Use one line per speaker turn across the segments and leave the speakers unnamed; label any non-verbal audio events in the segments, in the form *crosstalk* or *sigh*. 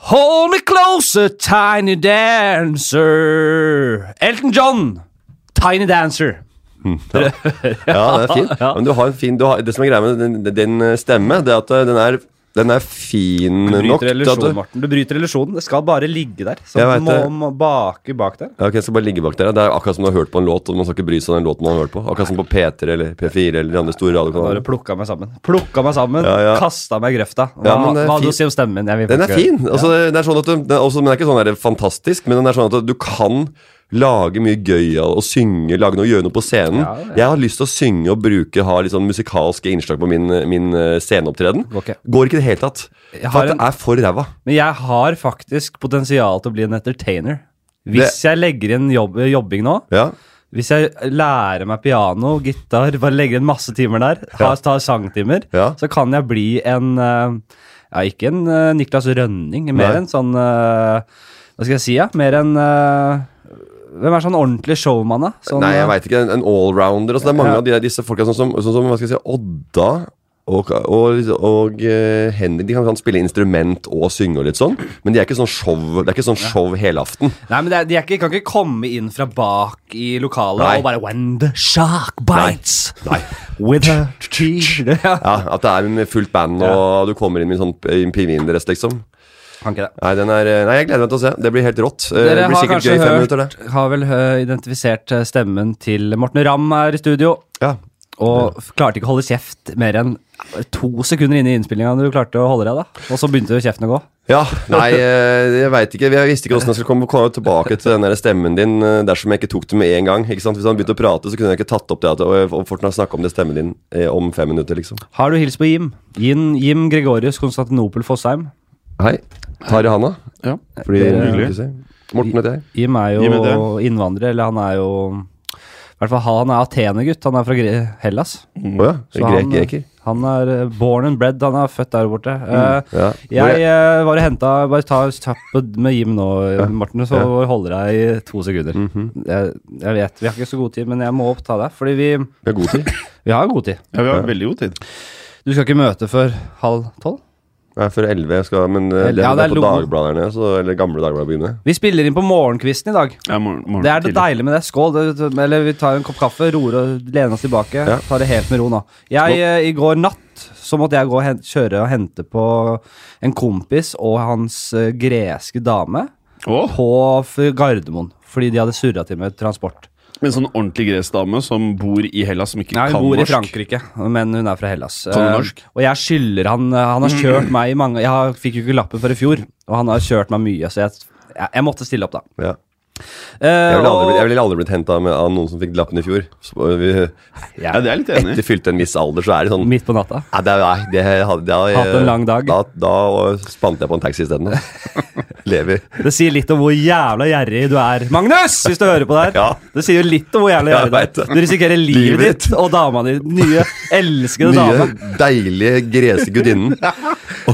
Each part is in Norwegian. Hold me closer, tiny dancer. Elton John, tiny dancer.
Ja, den er fin. Men du har en fin du har, Det som er greia med din, din eh, stemme, det er at den er, den er fin
Du
nok
bryter
til at
relasjonen,
du,
Morten. Du bryter relasjonen. Det skal bare ligge der. Så
Jeg vet
må,
det.
må bake bak der.
ja, ok, jeg skal bare ligge bak der. ja. Det er akkurat som du har hørt på en låt, og man skal ikke bry seg om den låten man har hørt på. Akkurat som på P3 eller P4 eller de andre store
Bare
radiokanalene.
plukka meg sammen. Plukka meg sammen,
Ja, ja.
kasta meg i grøfta. Hva,
Ja, men det er
hva hadde du
fin.
å si om stemmen min? Jeg vil
Den er
faktisk høre.
fin! Altså, den er sånn at du, den er også, men den er ikke sånn der fantastisk, men den er sånn at du kan lage mye gøy av å synge, lage noe, gjøre noe på scenen.
Ja, ja.
Jeg har lyst til å synge og bruke, ha litt sånn musikalske innslag på min, min eh, sceneopptreden.
Går ikke.
Går ikke i det hele tatt.
Jeg
For
har
at
en-
det er for ræva.
Men jeg har faktisk potensial til å bli en entertainer. Hvis jeg legger inn jobb, jobbing nå,
Ja.
hvis jeg lærer meg piano, gitar, bare legger inn masse timer der, har, tar sangtimer,
Ja.
så kan jeg bli en eh, Ja, ikke en eh, Niklas Rønning, mer
Nei.
en sånn eh, Hva skal jeg si, ja? Mer en eh, hvem er sånn ordentlig showman, da? Sånn,
Nei, jeg
eh,
veit ikke. En, en allrounder. Altså, det er mange
Ja.
av de, der- disse folka sånn som, sånn som hva skal jeg si, Odda og, og, og eh, Henrik. De kan, kan spille instrument og synge og litt sånn, men de er ikke sånn show, det er ikke sånn show helaften.
Nei, men det er, de er ikke, kan ikke komme inn fra bak i lokalet
Nei.
og bare When the shark bites with a
*laughs*
tear ja.
Ja, At det er med fullt band og du kommer inn med en sånn i en pingvindress, liksom.
Kan ikke det.
Nei, den er, eh, nei, jeg gleder meg til å se. Det blir helt rått. Eh,
Dere
det blir
har
sikkert
kanskje
gøy i fem
hørt,
minutter, det.
har vel hø, identifisert eh, stemmen til Morten Ramm her i studio.
Ja.
Og f- klarte ikke å holde kjeft mer enn to sekunder inn i innspillinga. Du klarte å holde deg da Og så begynte kjeften å gå.
ja. Nei, eh, jeg veit ikke. Jeg visste ikke åssen jeg skulle komme, komme tilbake til den der stemmen din eh, dersom jeg ikke tok det med en gang. Ikke sant? Hvis han begynte å prate, så kunne jeg ikke tatt opp det at og, og Forten har snakka om det stemmen din eh, om fem minutter, liksom.
Har du hilst på Jim? Jim, Jim Gregorius Konstantinopel Fossheim.
Hei. Tari Hanna.
Ja.
Fordi,
Det er
eh,
hyggelig.
du ser. Morten heter jeg.
Jim er
Jim
jo
er det.
innvandrer, eller han er jo I hvert fall han er Atenegutt. Han er fra Gre Hellas.
Å ja. Grek, greker.
han er eh, born and bred. Han er født der borte. Eh,
Ja.
Jeg eh, var og henta Bare ta tappet med Jim nå, Morten, så holder jeg i to sekunder. jeg, jeg vet vi har ikke så god tid, men jeg må oppta deg, fordi vi,
Vi har god tid.
vi har god tid.
Ja, vi har veldig god tid.
Du skal ikke møte før halv tolv?
Nei, før 11 skal Men eh,
Eller-
det,
ja,
det
det er
er på
lo-
Dagbladene, så, eller gamle Dagbladet begynner.
Vi spiller inn på morgenkvisten i dag.
Ja, morgen, morgen,
Det er det
tidlig.
deilige med det. Skål. Det, eller vi tar en kopp kaffe, roer og lener oss tilbake.
Ja.
Tar det helt med ro nå. Jeg, eh, I går natt så måtte jeg gå og hen- kjøre og hente på en kompis og hans eh, greske dame
Åh,
på f- Gardermoen. Fordi de hadde surra til med transport.
med en sånn ordentlig gressdame som bor i Hellas, som ikke
Nei,
kan
hun bor i
norsk.
Frankrike, men hun er fra Hellas.
hun
Eh,
norsk?
og jeg skylder han eh, Han har
*clears throat*
kjørt meg i mange Jeg har- fikk jo ikke lappen for i fjor, og han har kjørt meg mye, så jeg, jeg, jeg måtte stille opp, da.
Ja.
Eh,
Jeg ville aldri,
og-
blitt- jeg ville aldri blitt henta av av noen som fikk lappen i fjor. Så eh, vi,
Ja, det er jeg litt enig.
etter fylte en viss alder, så er det sånn
Midt på natta.
Nei, det, er- nei, det, hadde- det, hadde-
Hatt en lang dag.
Da, da eh, spant jeg på en taxi isteden. *laughs* da. Lever.
Det sier litt om hvor jævla gjerrig du er. Magnus! Hvis du hører på det her.
*laughs* Ja.
Det sier jo litt om hvor jævla
Ja, jeg
gjerrig
vet
du er.
det.
Du risikerer livet
Livet
ditt
ditt.
og dama di. Nye, elskede dame.
Nye, deilige greske
*laughs*
gudinnen.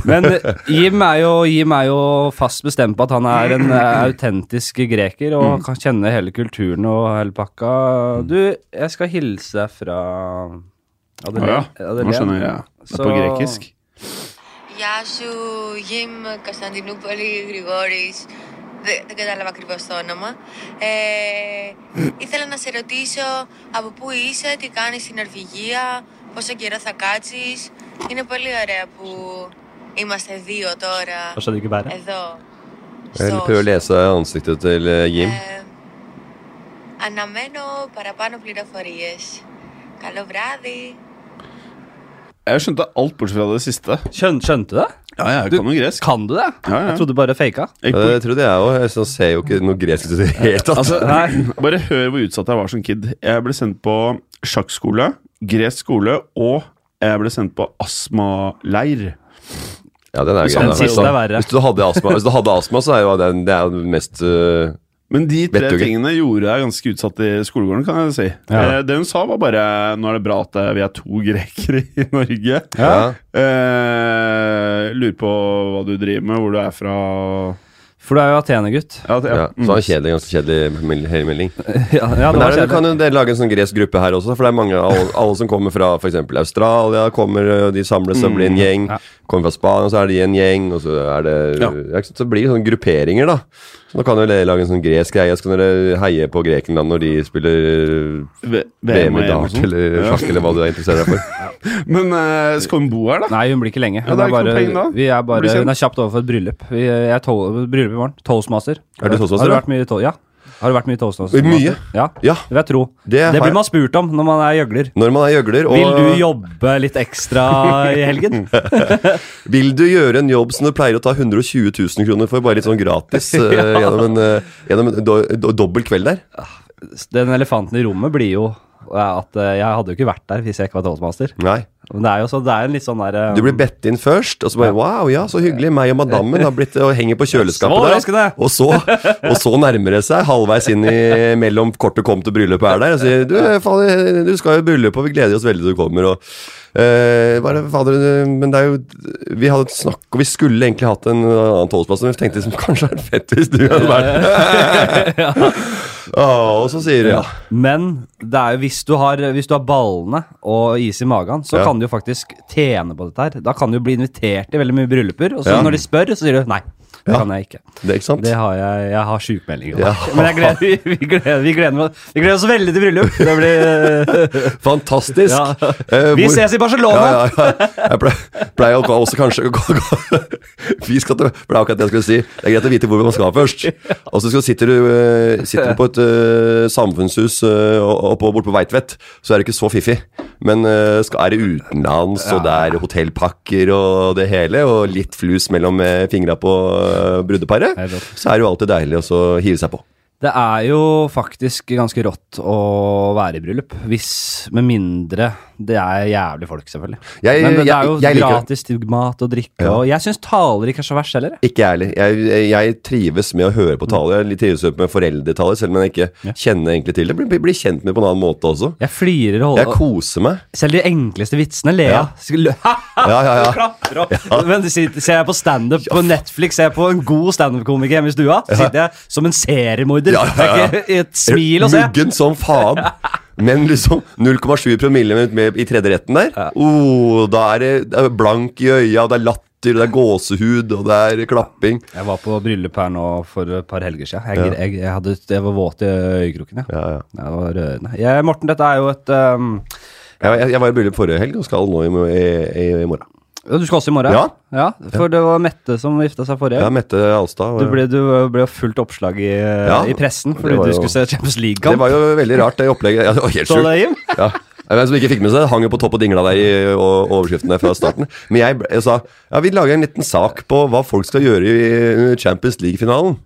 Men Jim er, jo, Jim er jo fast bestemt på at han er en eh, autentisk greker og kan kjenne hele kulturen og hele pakka. Du, jeg skal hilse deg fra
Å ja, nå skjønner jeg. Det er på
Så-
grekisk.
Γεια σου, Γιμ Κωνσταντινούπολη Γρηγόρης. Δε- Δεν κατάλαβα ακριβώ το όνομα. Ε, ήθελα να σε ρωτήσω από πού είσαι, τι κάνεις στην Νορβηγία, πόσο καιρό θα κάτσεις. Είναι πολύ ωραία που είμαστε δύο τώρα
Hva skjedde ikke bare?
εδώ.
Jeg
στο
prøver å lese ansiktet til eh, Jim.
ε, αναμένω παραπάνω πληροφορίες. Καλό βράδυ.
Jeg skjønte alt bortsett fra det siste.
Skjøn, skjønte du det?
Ja, jeg kan jo gresk.
Kan du det?
Ja, ja.
Jeg trodde du bare faka.
Jeg,
Ja, Eh, Det trodde jeg òg. Jeg sånn ser jo ikke noe gresk ut i det hele tatt.
altså,
Nei.
*clears throat* bare hør hvor utsatt jeg var som kid. Jeg ble sendt på sjakkskole, gresk skole, og jeg ble sendt på astmaleir.
Ja, den er grei,
Den
da.
siste er verre.
Hvis du hadde astma, hvis du hadde astma så er jo den det er jo den mest eh,
Men de tre
Vet du ikke.
tingene gjorde jeg ganske utsatt i skolegården, kan jeg si.
Ja.
Eh, Det hun sa, var bare Nå er det bra at eh, vi er to *laughs* grekere i Norge.
Ja.
Eh, lurer på hva du driver med, hvor du er fra
For du er jo Atene-gutt.
Ja, det-
ja.
ja.
Mm.
Så det er en kjedelig, ganske kjedelig mel- hele melding. *laughs*
Ja, ja, det
Men
var
er det,
kjedelig.
kan jo dere lage en sånn gresk gruppe her også, for det er mange alle, alle som kommer fra f.eks. Australia, kommer, ø, de samles og blir en gjeng. kommer fra Spania, så er de en gjeng, og så er det
Ja.
ja. ikke sant? Så blir det sånne grupperinger, da. Så nå kan jo dere lage en sånn gresk greie, så kan dere heie på Grekenland når de spiller
V-
VM i
og
dart
sånt.
eller
Ja.
sjakk eller hva du er interessert deg for.
Men eh, skal hun bo her, da?
Nei, hun blir ikke lenge.
Ja,
Hun
det er
er
ikke noe
bare,
penger da.
vi er
Blir
bare,
kjent.
hun er kjapt overfor et bryllup. Vi, jeg er tol, bryllup i morgen. Toastmaster.
Er du toastmaster,
Har du
da?
vært mye, i to, ja. Har du vært mye i toastmaster?
Mye?
Ja,
Ja,
det vil jeg tro.
det,
Det
har
blir
jeg.
man spurt om når man er gjøgler.
Når man er gjøgler og
Vil du jobbe litt ekstra i
*laughs*
helgen?
Vil du gjøre en jobb som du pleier å ta 120 000 kroner for, bare litt sånn gratis eh, gjennom en, eh, gjennom en do, do, dobbel kveld der?
Den elefanten i rommet blir jo eh, at eh, jeg hadde jo ikke vært der hvis jeg ikke var toastmaster.
Nei.
Men det er jo så, det er en litt sånn der eh,
Du blir bedt inn først, og så bare Wow, ja, så hyggelig. Meg og madammen har blitt og henger på
Så
kjøleskapet der.
overraskende.
Og så, og så nærmer det seg, halvveis inn i mellom kortet kom til bryllupet er der, og sier du, fader, du skal jo i bryllup, og vi gleder oss veldig til du kommer, og eh, bare, fader, eh, men det er jo Vi hadde et snakk, og vi skulle egentlig hatt en annen toastplass, men vi tenkte liksom, *laughs* kanskje det er fett hvis du
*laughs*
hadde vært Å, Og så sier de ja.
Men det er jo, hvis, du har, hvis du har ballene og is i magen, så
Ja.
kan du jo faktisk tjene på dette her. Da kan du jo bli invitert i veldig mye brylluper, og så
Ja.
når de spør, så sier du nei. Det
Ja.
kan jeg ikke.
Det, ikke sant?
Det har jeg, jeg har sjukmeldinger. da. *laughs*
Ja.
Men jeg gleder, vi, vi, gleder, vi, gleder, oss- vi gleder oss veldig til bryllup. Det
*laughs*
blir,
Fantastisk.
Ja.
Eh,
vi
hvor-
ses i Barcelona!
Ja, ja, ja. Jeg pleier, pleier å- også kanskje å gå- *laughs* gå- Vi skal til For det er akkurat det jeg skulle si. Det er greit å vite hvor man
*laughs*
skal først. Og så skal- sitter du, eh, sitter du på et eh, samfunnshus eh, oppå borte på Veitvet, så er det ikke så fiffig. Men eh, skal, er det utenlands, og det er hotellpakker og det hele, og litt flus mellom eh, fingra på eh, brudeparet,
Det er godt.
så er det jo alltid deilig å så hive seg på.
Det er jo faktisk ganske rått å være i bryllup. Hvis, med mindre det er jævlig folk, selvfølgelig.
Jeg-
Men det, det
jeg-
er jo
jeg liker det.
gratis til mat og drikke,
Ja.
og jeg syns taler ikke er så verst heller. jeg.
Ikke ærlig. jeg heller. Jeg trives med å høre
Mm.
på taler. Jeg trives med foreldretaler, selv om jeg ikke kjenner egentlig til det. Blir, blir kjent med på en annen måte også.
Jeg flirer og
Jeg
holder
koser meg.
Selv de enkleste vitsene ler
Ja.
jeg Skulle- *laughs* Ha!
Ja, ja, ja.
Klapper opp. Men sitter- ser jeg på standup på Netflix, ser jeg på en god standup-komiker hjemme i stua, så sitter jeg som en seriemorder.
Ja, ja, ja.
Det er ikke et smil å se.
Muggen
*laughs*
som faen. Men liksom 0,7 promille med, med, i tredje retten der, oh, da er det, det er blank i øya, og det er latter, og det er gåsehud, og det er klapping.
Jeg var på bryllup her nå for et par helger siden. Jeg, jeg, jeg, hadde, jeg var våt i øyekroken, ja.
Ja, ja.
Det var rørende. Jeg, Morten, dette er jo et um,
Jeg, jeg, jeg var i bryllup forrige helg og skal nå i, mo- i, i, i morgen.
ja, Du skal også i morgen?
Ja.
For det var Mette som gifta seg forrige.
Ja, Mette Alstad.
Du
og-
ble, du ble jo fullt oppslag i,
Ja,
i pressen fordi
det var
du
jo-
skulle se Champions
det
League-kamp.
var jo veldig rart, det opplegget. Ja, det var helt
Så
sjukt.
det, Jim?
Ja. Nei, Men som ikke fikk med seg, det hang jo på topp og dingla der i og overskriftene fra starten. Men jeg, ble- jeg sa ja, vi lager en liten sak på hva folk skal gjøre i eh, Champions League-finalen.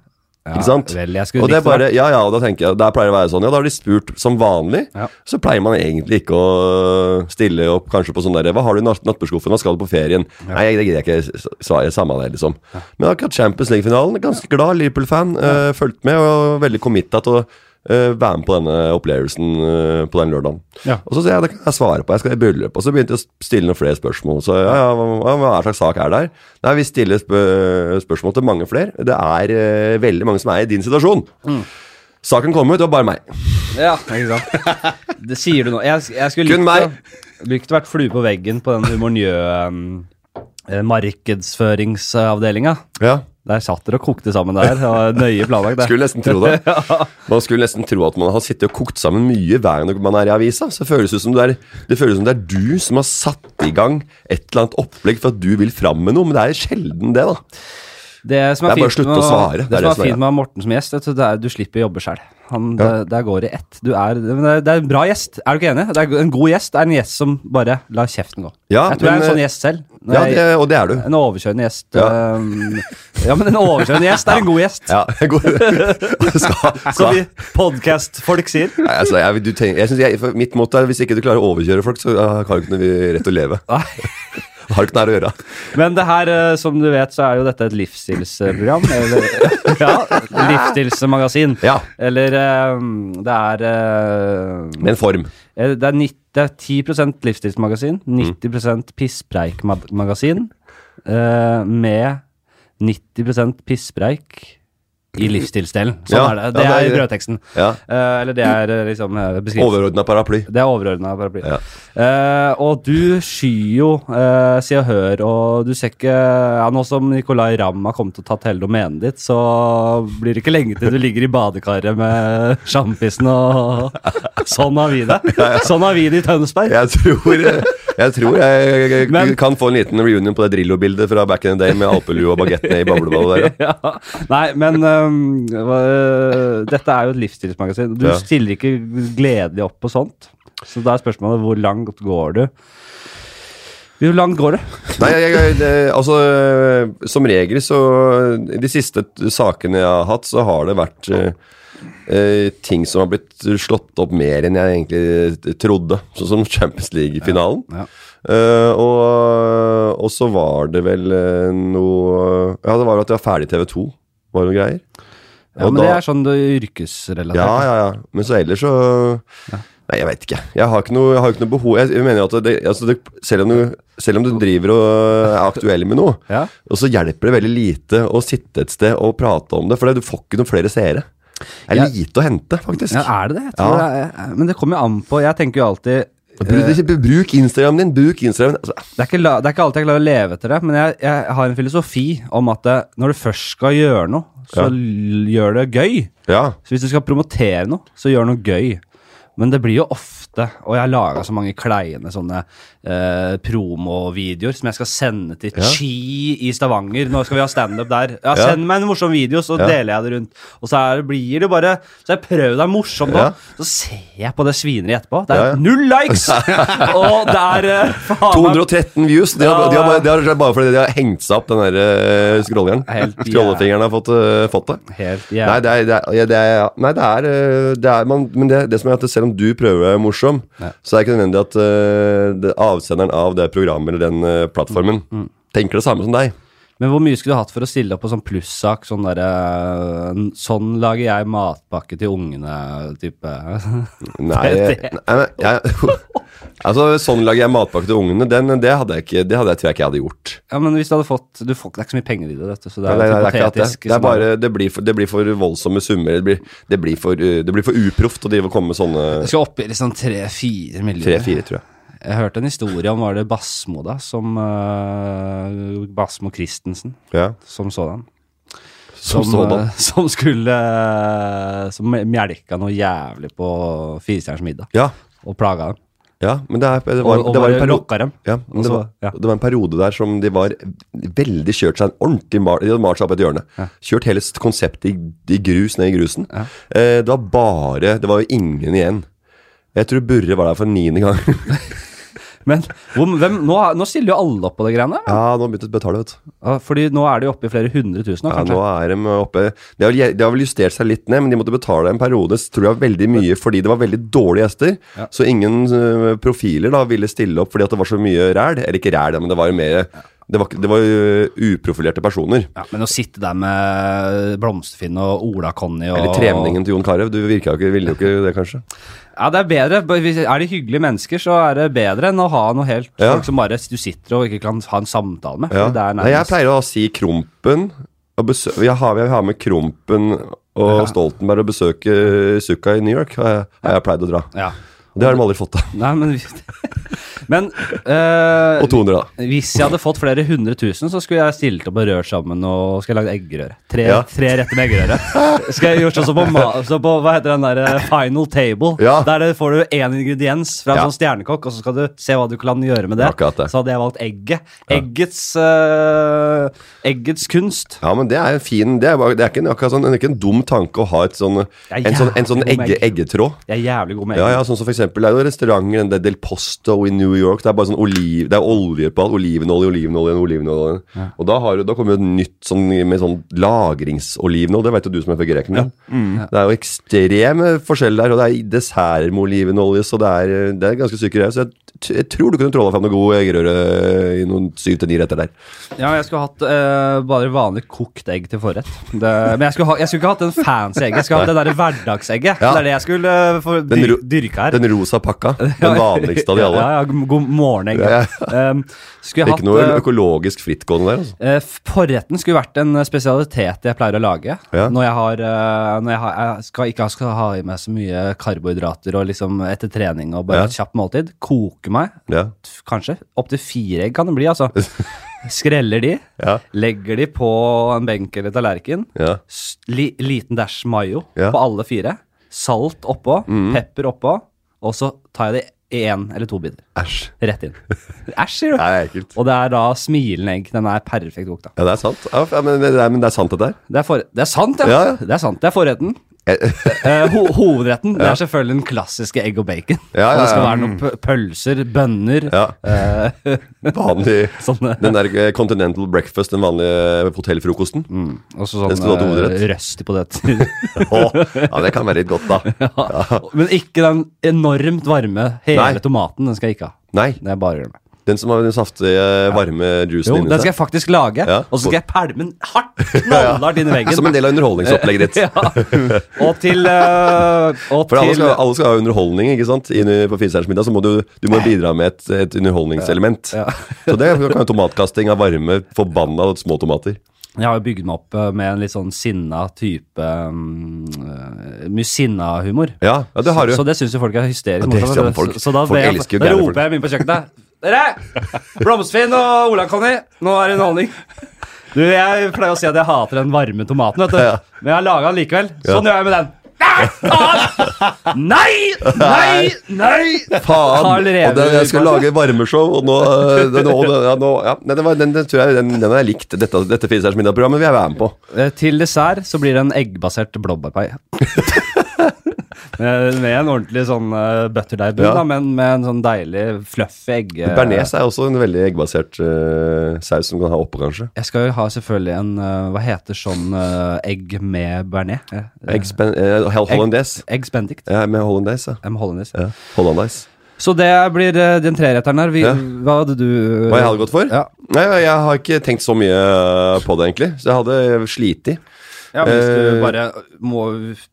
Ja,
ikke sant?
vel, jeg skulle
og
likt
det er
det
bare, ja, ja, og da tenker jeg, der pleier det å være sånn, ja, da har de spurt som vanlig,
Ja.
så pleier man egentlig ikke å stille opp kanskje på sånn der, hva har du i natt- nattbordskuffen, hva skal du på ferien? Nei, det gidder jeg ikke s- svare samme det, liksom. Men akkurat Champions League-finalen, ganske glad Liverpool-fan, eh, fulgt med og veldig committet til å eh, være med på denne opplevelsen eh, på den lørdagen.
Ja.
Og så sier jeg, det kan jeg svare på, jeg skal i bryllup, og så begynte jeg å stille noen flere spørsmål, så ja, ja, hva, hva er slags sak er der? Nei, vi stiller spø spørsmål til mange flere, det er eh, veldig mange som er i din situasjon.
Mm.
Saken kom ut, det var bare meg.
Ja, ikke sant? *laughs* Det sier du nå. Jeg, jeg skulle
Kun meg.
å- likt å vært flue på veggen på den um, humornjø-markedsføringsavdelinga.
Ja.
der satt dere og kokte sammen der. Det var nøye planlagt, det.
Skulle nesten tro det. Man skulle nesten tro at man har sittet og kokt sammen mye hver gang man er i avisa. Så føles det, som det, er, det føles som det er du som har satt i gang et eller annet opplegg for at du vil fram med noe, men det er sjelden det, da.
Det som er,
Det er bare å
fint
slutte
med
å svare.
Det, som
Det er det
er
som er
fint med å ha Morten som gjest, vet du, det er at du slipper å jobbe sjøl.
Ja.
Der går det i ett. Du er, men det er- det er en bra gjest. Er du ikke enig? Det er en god gjest. Det er en gjest som bare lar kjeften gå.
Ja,
jeg tror jeg er en
men, eh,
sånn gjest selv. Når
Ja,
jeg-
det, og det er du.
En overkjørende gjest.
Ja.
øhm, ja, men en overkjørende gjest er en god
*laughs*
gjest.
Ja, god. skal,
Som
skal.
vi podcast-folk sier.
Nei, altså, jeg, du tenker, jeg synes jeg, for mitt motto er hvis ikke du klarer å overkjøre folk, så ja, har du ikke noe rett til å leve.
Nei.
*laughs* Har du ikke noe her å gjøre.
Men det her, eh, som du vet, så er jo dette et livsstilsprogram. Eller,
*laughs*
ja, livsstilsmagasin.
Ja.
Eller eh, det er eh,
Med en form.
eh, Det er, 90, det er 10
Mm.
livsstilsmagasin, 90 pisspreikmagasin, eh, med 90 pisspreik i livsstilsdelen. Sånn
Ja,
er det. Det
ja, det
er
er-
brødteksten.
Ja.
Eh, eller det er eh, liksom eh, beskrivelsen.
Overordna paraply.
Det er overordna paraply.
Ja.
Eh, og du skyr jo eh, Se og Hør, og du ser ikke ja, Nå som Nicolay Ramm har kommet og tatt hele domenet ditt, så blir det ikke lenge til du ligger i badekaret med sjampisen og *laughs* Sånn har vi det. Sånn har vi det i Tønsberg.
Jeg tror eh, jeg, tror jeg, jeg
Men-
kan få en liten reunion på det Drillo-bildet fra back in the day med alpelue og bagettene i bobleballet der.
*laughs* Ja. Nei, men ehm, hva- eh, dette er jo et livsstilsmagasin. Du
Ja.
stiller ikke gledelig opp på sånt. Så da er spørsmålet hvor langt går du? Hvor langt går du?
Nei, jeg, jeg, det, altså eh, Som regel så eh, De siste t- sakene jeg har hatt, så har det vært eh, eh, ting som har blitt slått opp mer enn jeg egentlig t- trodde. Sånn som Champions League-finalen.
Ja, ja.
Eh, og, og så var det vel eh, noe Ja, det var jo at jeg var ferdig i TV 2. Var det noen greier?
Ja,
Og
men
da-
det er sånn det er yrkesrelatert.
Ja, ja, ja. Men så ellers så Nei, jeg veit ikke. Jeg har ikke noe, jeg har ikke noe behov Jeg, jeg mener at det, altså det, selv, om du, selv om du driver og er aktuell med noe,
Ja.
og så hjelper det veldig lite å sitte et sted og prate om det, for det- du får ikke noen flere seere. Det er
Ja.
lite å hente, faktisk.
Ja, er det det? Jeg tror
Ja.
det er, men det kommer jo an på. Jeg tenker jo alltid eh,
Bruk, bruk Instagramen din, bruk Instagramen altså,
det er, ikke, la- det er ikke alltid jeg klarer å leve etter det, men jeg, jeg har en filosofi om at eh, når du først skal gjøre noe, så
Ja.
l- gjør det gøy.
Ja.
Så hvis du skal promotere noe, så gjør noe gøy. Men det blir jo ofte, og jeg har laga så mange kleine sånne eh, promovideoer som jeg skal sende til Chi i Stavanger. Nå skal vi ha standup der. Ja,
Ja.
Send meg en morsom video, så deler jeg det rundt. Og så er, blir det bare Så jeg prøver det er morsomt nå.
Ja.
Så ser jeg på det svineriet etterpå. Det er
Ja, ja.
null
*laughs*
likes! og det er eh, faen meg
213 views. De har,
Ja.
de har, bare, de har bare fordi de har hengt seg opp, den der eh, scrolleren.
Helt jæv-
Scrollefingeren har fått, eh, fått det.
Helt jævlig.
Nei, det er, det er, ja, det er, nei, det er, øh, det er man, Men det, det som er at selv om du prøver å være morsom, så er det ikke nødvendig at øh, det, avsenderen av det programmet eller den øh, plattformen
Mm.
tenker det samme som deg.
Men hvor mye skulle du hatt for å stille opp på sånn plussak? Sånn derre Sånn lager jeg matpakke til ungene-type. *laughs*
Nei,
Det-
nei, men jeg, *laughs* altså, Sånn lager jeg matpakke til ungene. Den, det hadde jeg ikke, det hadde jeg, tror jeg ikke jeg hadde gjort.
Ja, men hvis du hadde fått Du får det er ikke så mye penger i det, vet du. Så det
Nei,
er,
nei,
jo
nei, det, er ikke
hypotetisk.
at det. Det, er
liksom.
bare, det, blir for, det blir for voldsomme summer. Det blir, det blir, for, øh, det blir for uproft å drive og komme med sånne
Jeg skal opp i liksom tre-fire millioner.
tre-fire, tror jeg.
Jeg hørte en historie om var det Basmo, da, som eh, Basmo Christensen,
Ja.
som sådan.
Som sådan.
eh, *laughs* som skulle eh, Som mjelka noe jævlig på Firestjerners middag,
Ja,
og plaga dem.
ja, men det, er, det, var,
Og, og
det var
bare
en periode
lokka dem.
Ja, men
Og
det,
så-
var,
ja.
det var en periode der som de var veldig kjørt seg en ordentlig mar De hadde malt seg opp et hjørne. Kjørt hele s- konseptet i, i grus ned i grusen. Eh, det var bare Det var jo ingen igjen. Jeg tror Burre var der for niende gang.
Men hvor, hvem, nå, nå stiller jo alle opp på det greiene.
ja, *laughs* nå begynte de å betale, vet du.
Ja, Fordi nå er det jo oppe i flere hundre tusen nå,
Ja,
kanskje.
nå er de oppe Det har, vel- de har vel justert seg litt ned, men de måtte betale en periode så tror jeg veldig mye fordi det var veldig dårlige gjester. Så ingen øh, profiler da ville stille opp fordi at det var så mye ræl. Eller ikke ræl, da, men det var jo mer Det var, ikke- det var jo eh, uprofilerte personer.
Ja, men å sitte der med Blomsterfinn og Ola-Conny og
Eller treningen til Jon Carew. Du virka jo ikke, ville jo ikke det,
*laughs*
kanskje.
Ja, det er bedre. Bare hvis- Er de hyggelige mennesker, så er det bedre enn å ha noe helt
Ja.
folk som bare du sitter og ikke kan ha en samtale med.
Ja.
for Det er
Nei, jeg
nærmest
pleier å si Krompen. Og besø jeg, har, jeg har med Krompen og Stoltenberg og besøke Sukka i New York, har jeg, har jeg pleid å dra.
ja.
Det har de aldri fått til.
Nei, men vi- *laughs* Men eh,
Og 200, da.
hvis jeg hadde fått flere hundre tusen, så skulle jeg stilt opp og rørt sammen og skulle jeg lagd eggerøre. Tre,
Ja.
tre retter med eggerøre. Skal jeg gjort sånn som på, ma- så på hva heter den der, eh, Final Table.
Ja.
Der det får du én ingrediens fra en
Ja.
sånn stjernekokk, og så skal du se hva du kan gjøre med det.
Akkurat det.
Så hadde jeg valgt egget. Eggets, eh, eggets kunst.
Ja, men det er en fin Det er, bare, det er, ikke, en, akkurat sånn, det er ikke en dum tanke å ha et sånn,
er
en sånn, en sånn
jævlig god
egge, eggetråd.
Jeg er jævlig god med egg.
Ja, ja, sånn som for eksempel, Det er jo restauranter den der Del Posto i New York. Det er bare sånn oliv, det er oljer på alt. Olivenolje, olivenolje, olivenolje. Og da, har, du- da kommer jo et nytt sånn, med sånn lagringsolivenolje. Det vet jo du som er fra Grekland.
Mm.
Det er jo ekstreme forskjeller der. Og det er desserter med olivenolje, så det er, det er ganske syke greier. Så jeg, t- jeg tror du kunne tråla fram noe god eggerøre i noen syv til ni retter der.
Ja, jeg skulle hatt eh, bare vanlig kokt egg til forrett. Det, men jeg skulle, ha, jeg skulle ikke hatt den fancy egget. Jeg skulle hatt det der hverdagsegget.
Ja.
Det er det jeg skulle eh, få
Den
dyr,
ro-
dyrke her.
Den rosa pakka.
*laughs*
Den vanligste av de alle.
Ja, ja, god morgen, egentlig.
Ja,
Ehm, skulle jeg
Ikke
hatt
noe
eh,
økologisk frittgående der, altså.
Eh, f- Forretten skulle vært en eh, spesialitet jeg pleier å lage.
Ja.
Når jeg har, eh, når jeg, har jeg skal ikke skal ha i meg så mye karbohydrater og liksom etter trening og
Ja.
bare et kjapt måltid. Koke meg,
Ja.
t- kanskje. Opptil fire egg kan det bli,
*laughs*
altså. Skreller de,
Ja.
legger de på en benk eller tallerken.
Ja.
S- Li, liten dash mayo
Ja. Mm.
på alle fire. Salt oppå, pepper oppå, og så tar jeg det i én eller to biter.
Æsj.
Rett inn. Æsj, sier
Det
du.
er ekkelt.
Og det er da smilende egg. Den er perfekt kokt, da.
Ja, det er sant. Ja, f- ja, men, det er, men det er sant, dette her.
Det er, for, det er sant, ja.
Ja, ja.
Det er sant, det er forretten.
Jeg-
Eh, ho hovedretten det er selvfølgelig den klassiske egg og bacon.
Ja,
Og det skal
ja, ja.
være noen p- pølser, bønner
Ja.
eh, *laughs*
Vanlig
Sånne.
Den der eh, Continental breakfast, den vanlige eh, hotellfrokosten. Mm.
Og så sånn
Det skulle vært hovedrett.
eh, røst i poteter.
*laughs* Åh, ja, det kan være litt godt,
*laughs*
da.
ja. Men ikke den enormt varme hele
Nei.
tomaten. Den skal jeg ikke ha.
Nei,
Det er bare å glemme.
den som har den saftige, varme
Jo,
juicen
den
inni
skal
seg.
jeg faktisk lage,
Ja.
og så skal jeg pælme den hardt, knallhardt inn i veggen.
*laughs* Som en del av underholdningsopplegget ditt.
*laughs* ja. Og til eh, Og
For alle
til
skal, alle skal ha underholdning, ikke sant? Inn på Fiserens middag, så må du, du må bidra med et, et underholdningselement. så det
*laughs*
kan jo tomatkasting av varme, forbanna små tomater.
Jeg har jo bygd meg opp eh, med en litt sånn sinna type um, eh, Mye sinna-humor.
Ja, ja det har du.
Så, så det syns jo folk er hysterisk
Ja, det
morsomt.
ser man folk.
Så, så da,
Folk
ber jeg,
elsker jo
da
gærne folk.
roper jeg dem inn på kjøkkenet. Dere! Blomstfinn og Ola-Conny, nå er det underholdning. Du, Jeg pleier å si at jeg hater den varme tomaten, vet du. men jeg har laga den likevel. Sånn gjør jeg med den. Nei! faen! Nei! Nei! Nei!
Faen!
Har
Og
revet
den, jeg skal
meg.
lage varmeshow, og nå, øh, den, og den, ja, nå ja, Nei, den, var- den, den tror jeg den, den har jeg likt. Dette, dette Fiserens middag-programmet vil jeg være med på.
Eh, Til dessert så blir det en eggbasert blåbærpai.
*laughs*
med, med en ordentlig sånn uh, butterdeigbunn,
Ja.
da, men med en sånn deilig fluffy egg... eh,
Bearnés er også en veldig eggbasert øh, saus som du kan ha oppå, kanskje.
Jeg skal jo ha selvfølgelig en eh, Hva heter sånn eh, egg med bearnés? Eh, eh,
Eggspen, eh, hol- hollandaise.
Eggs bendict.
Ja, med hollandaise, ja.
Eh, med hollandaise.
ja. Hollandaise.
Så det blir eh, den treretteren her. Vi,
Ja.
Hva hadde du eh,
Hva jeg hadde gått for?
Ja.
Nei, jeg har ikke tenkt så mye eh, på det, egentlig. Så jeg hadde eh, slitt i.
Ja, hvis du
Eh,
bare må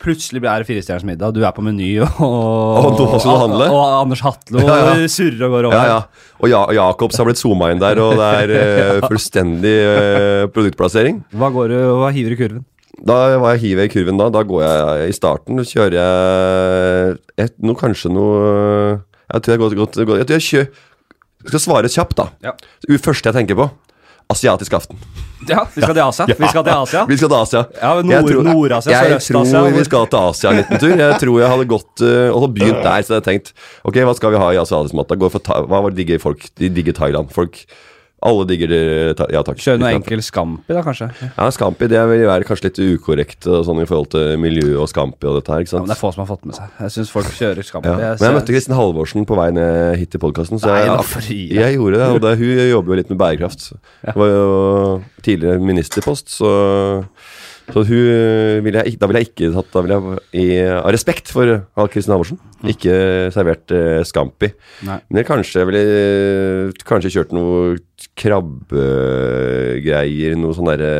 Plutselig blir det Firestjerners middag, du er på Meny, og,
*laughs* Og nå skal du handle?
og Anders Hatlo
Ja, ja.
surrer og går over.
Ja, ja. Og ja, Jacobs har blitt zooma inn der, og det er
*laughs*
eh, fullstendig eh, produktplassering.
Hva, går du, hva hiver du i kurven?
Da var jeg hiver i kurven da. Da går jeg i starten, så kjører jeg et, noe, kanskje noe Jeg tror jeg, går, går, går, jeg, tror jeg kjø, skal svare kjapt, da.
Ja.
Det første jeg tenker på. Asiatisk aften.
Ja, vi skal til Asia. Vi skal til Asia.
Vi skal til Asia.
Ja, men
Jeg
Nord-
tror-
Nord-Asia,
Jeg
Sørøst-Asia,
tror
hvor-
vi skal til Asia en liten tur. Jeg tror jeg hadde gått eh, og så begynt der. Så hadde jeg tenkt Ok, hva skal vi ha i asiatisk mat? da? Gå for Tha- Hva var det digger folk? De digger Thailand. Folk Alle digger det Tha- Ja takk.
Kjøre noe enkel Scampi, da, kanskje. Ja,
Ja, Scampi det vil være kanskje litt ukorrekt og sånn, i forhold til miljø og Scampi og dette her. ikke sant?
men det er få som har fått med seg. Jeg syns folk kjører Scampi.
Ja. Men jeg møtte Kristin Halvorsen på vei ned hit til podkasten.
Nei,
Jeg,
da, for i-
jeg gjorde det, og det, hun jobber jo litt med bærekraft. Hun var jo tidligere ministerpost, så, så hun ville jeg, ikke- Da ville jeg ikke tatt da ville jeg, i, Av respekt for av Kristin Halvorsen
Mm.
ikke servert eh, Scampi.
Nei.
Men jeg kanskje ville kanskje kjørt noe krabbegreier, noe sånn derre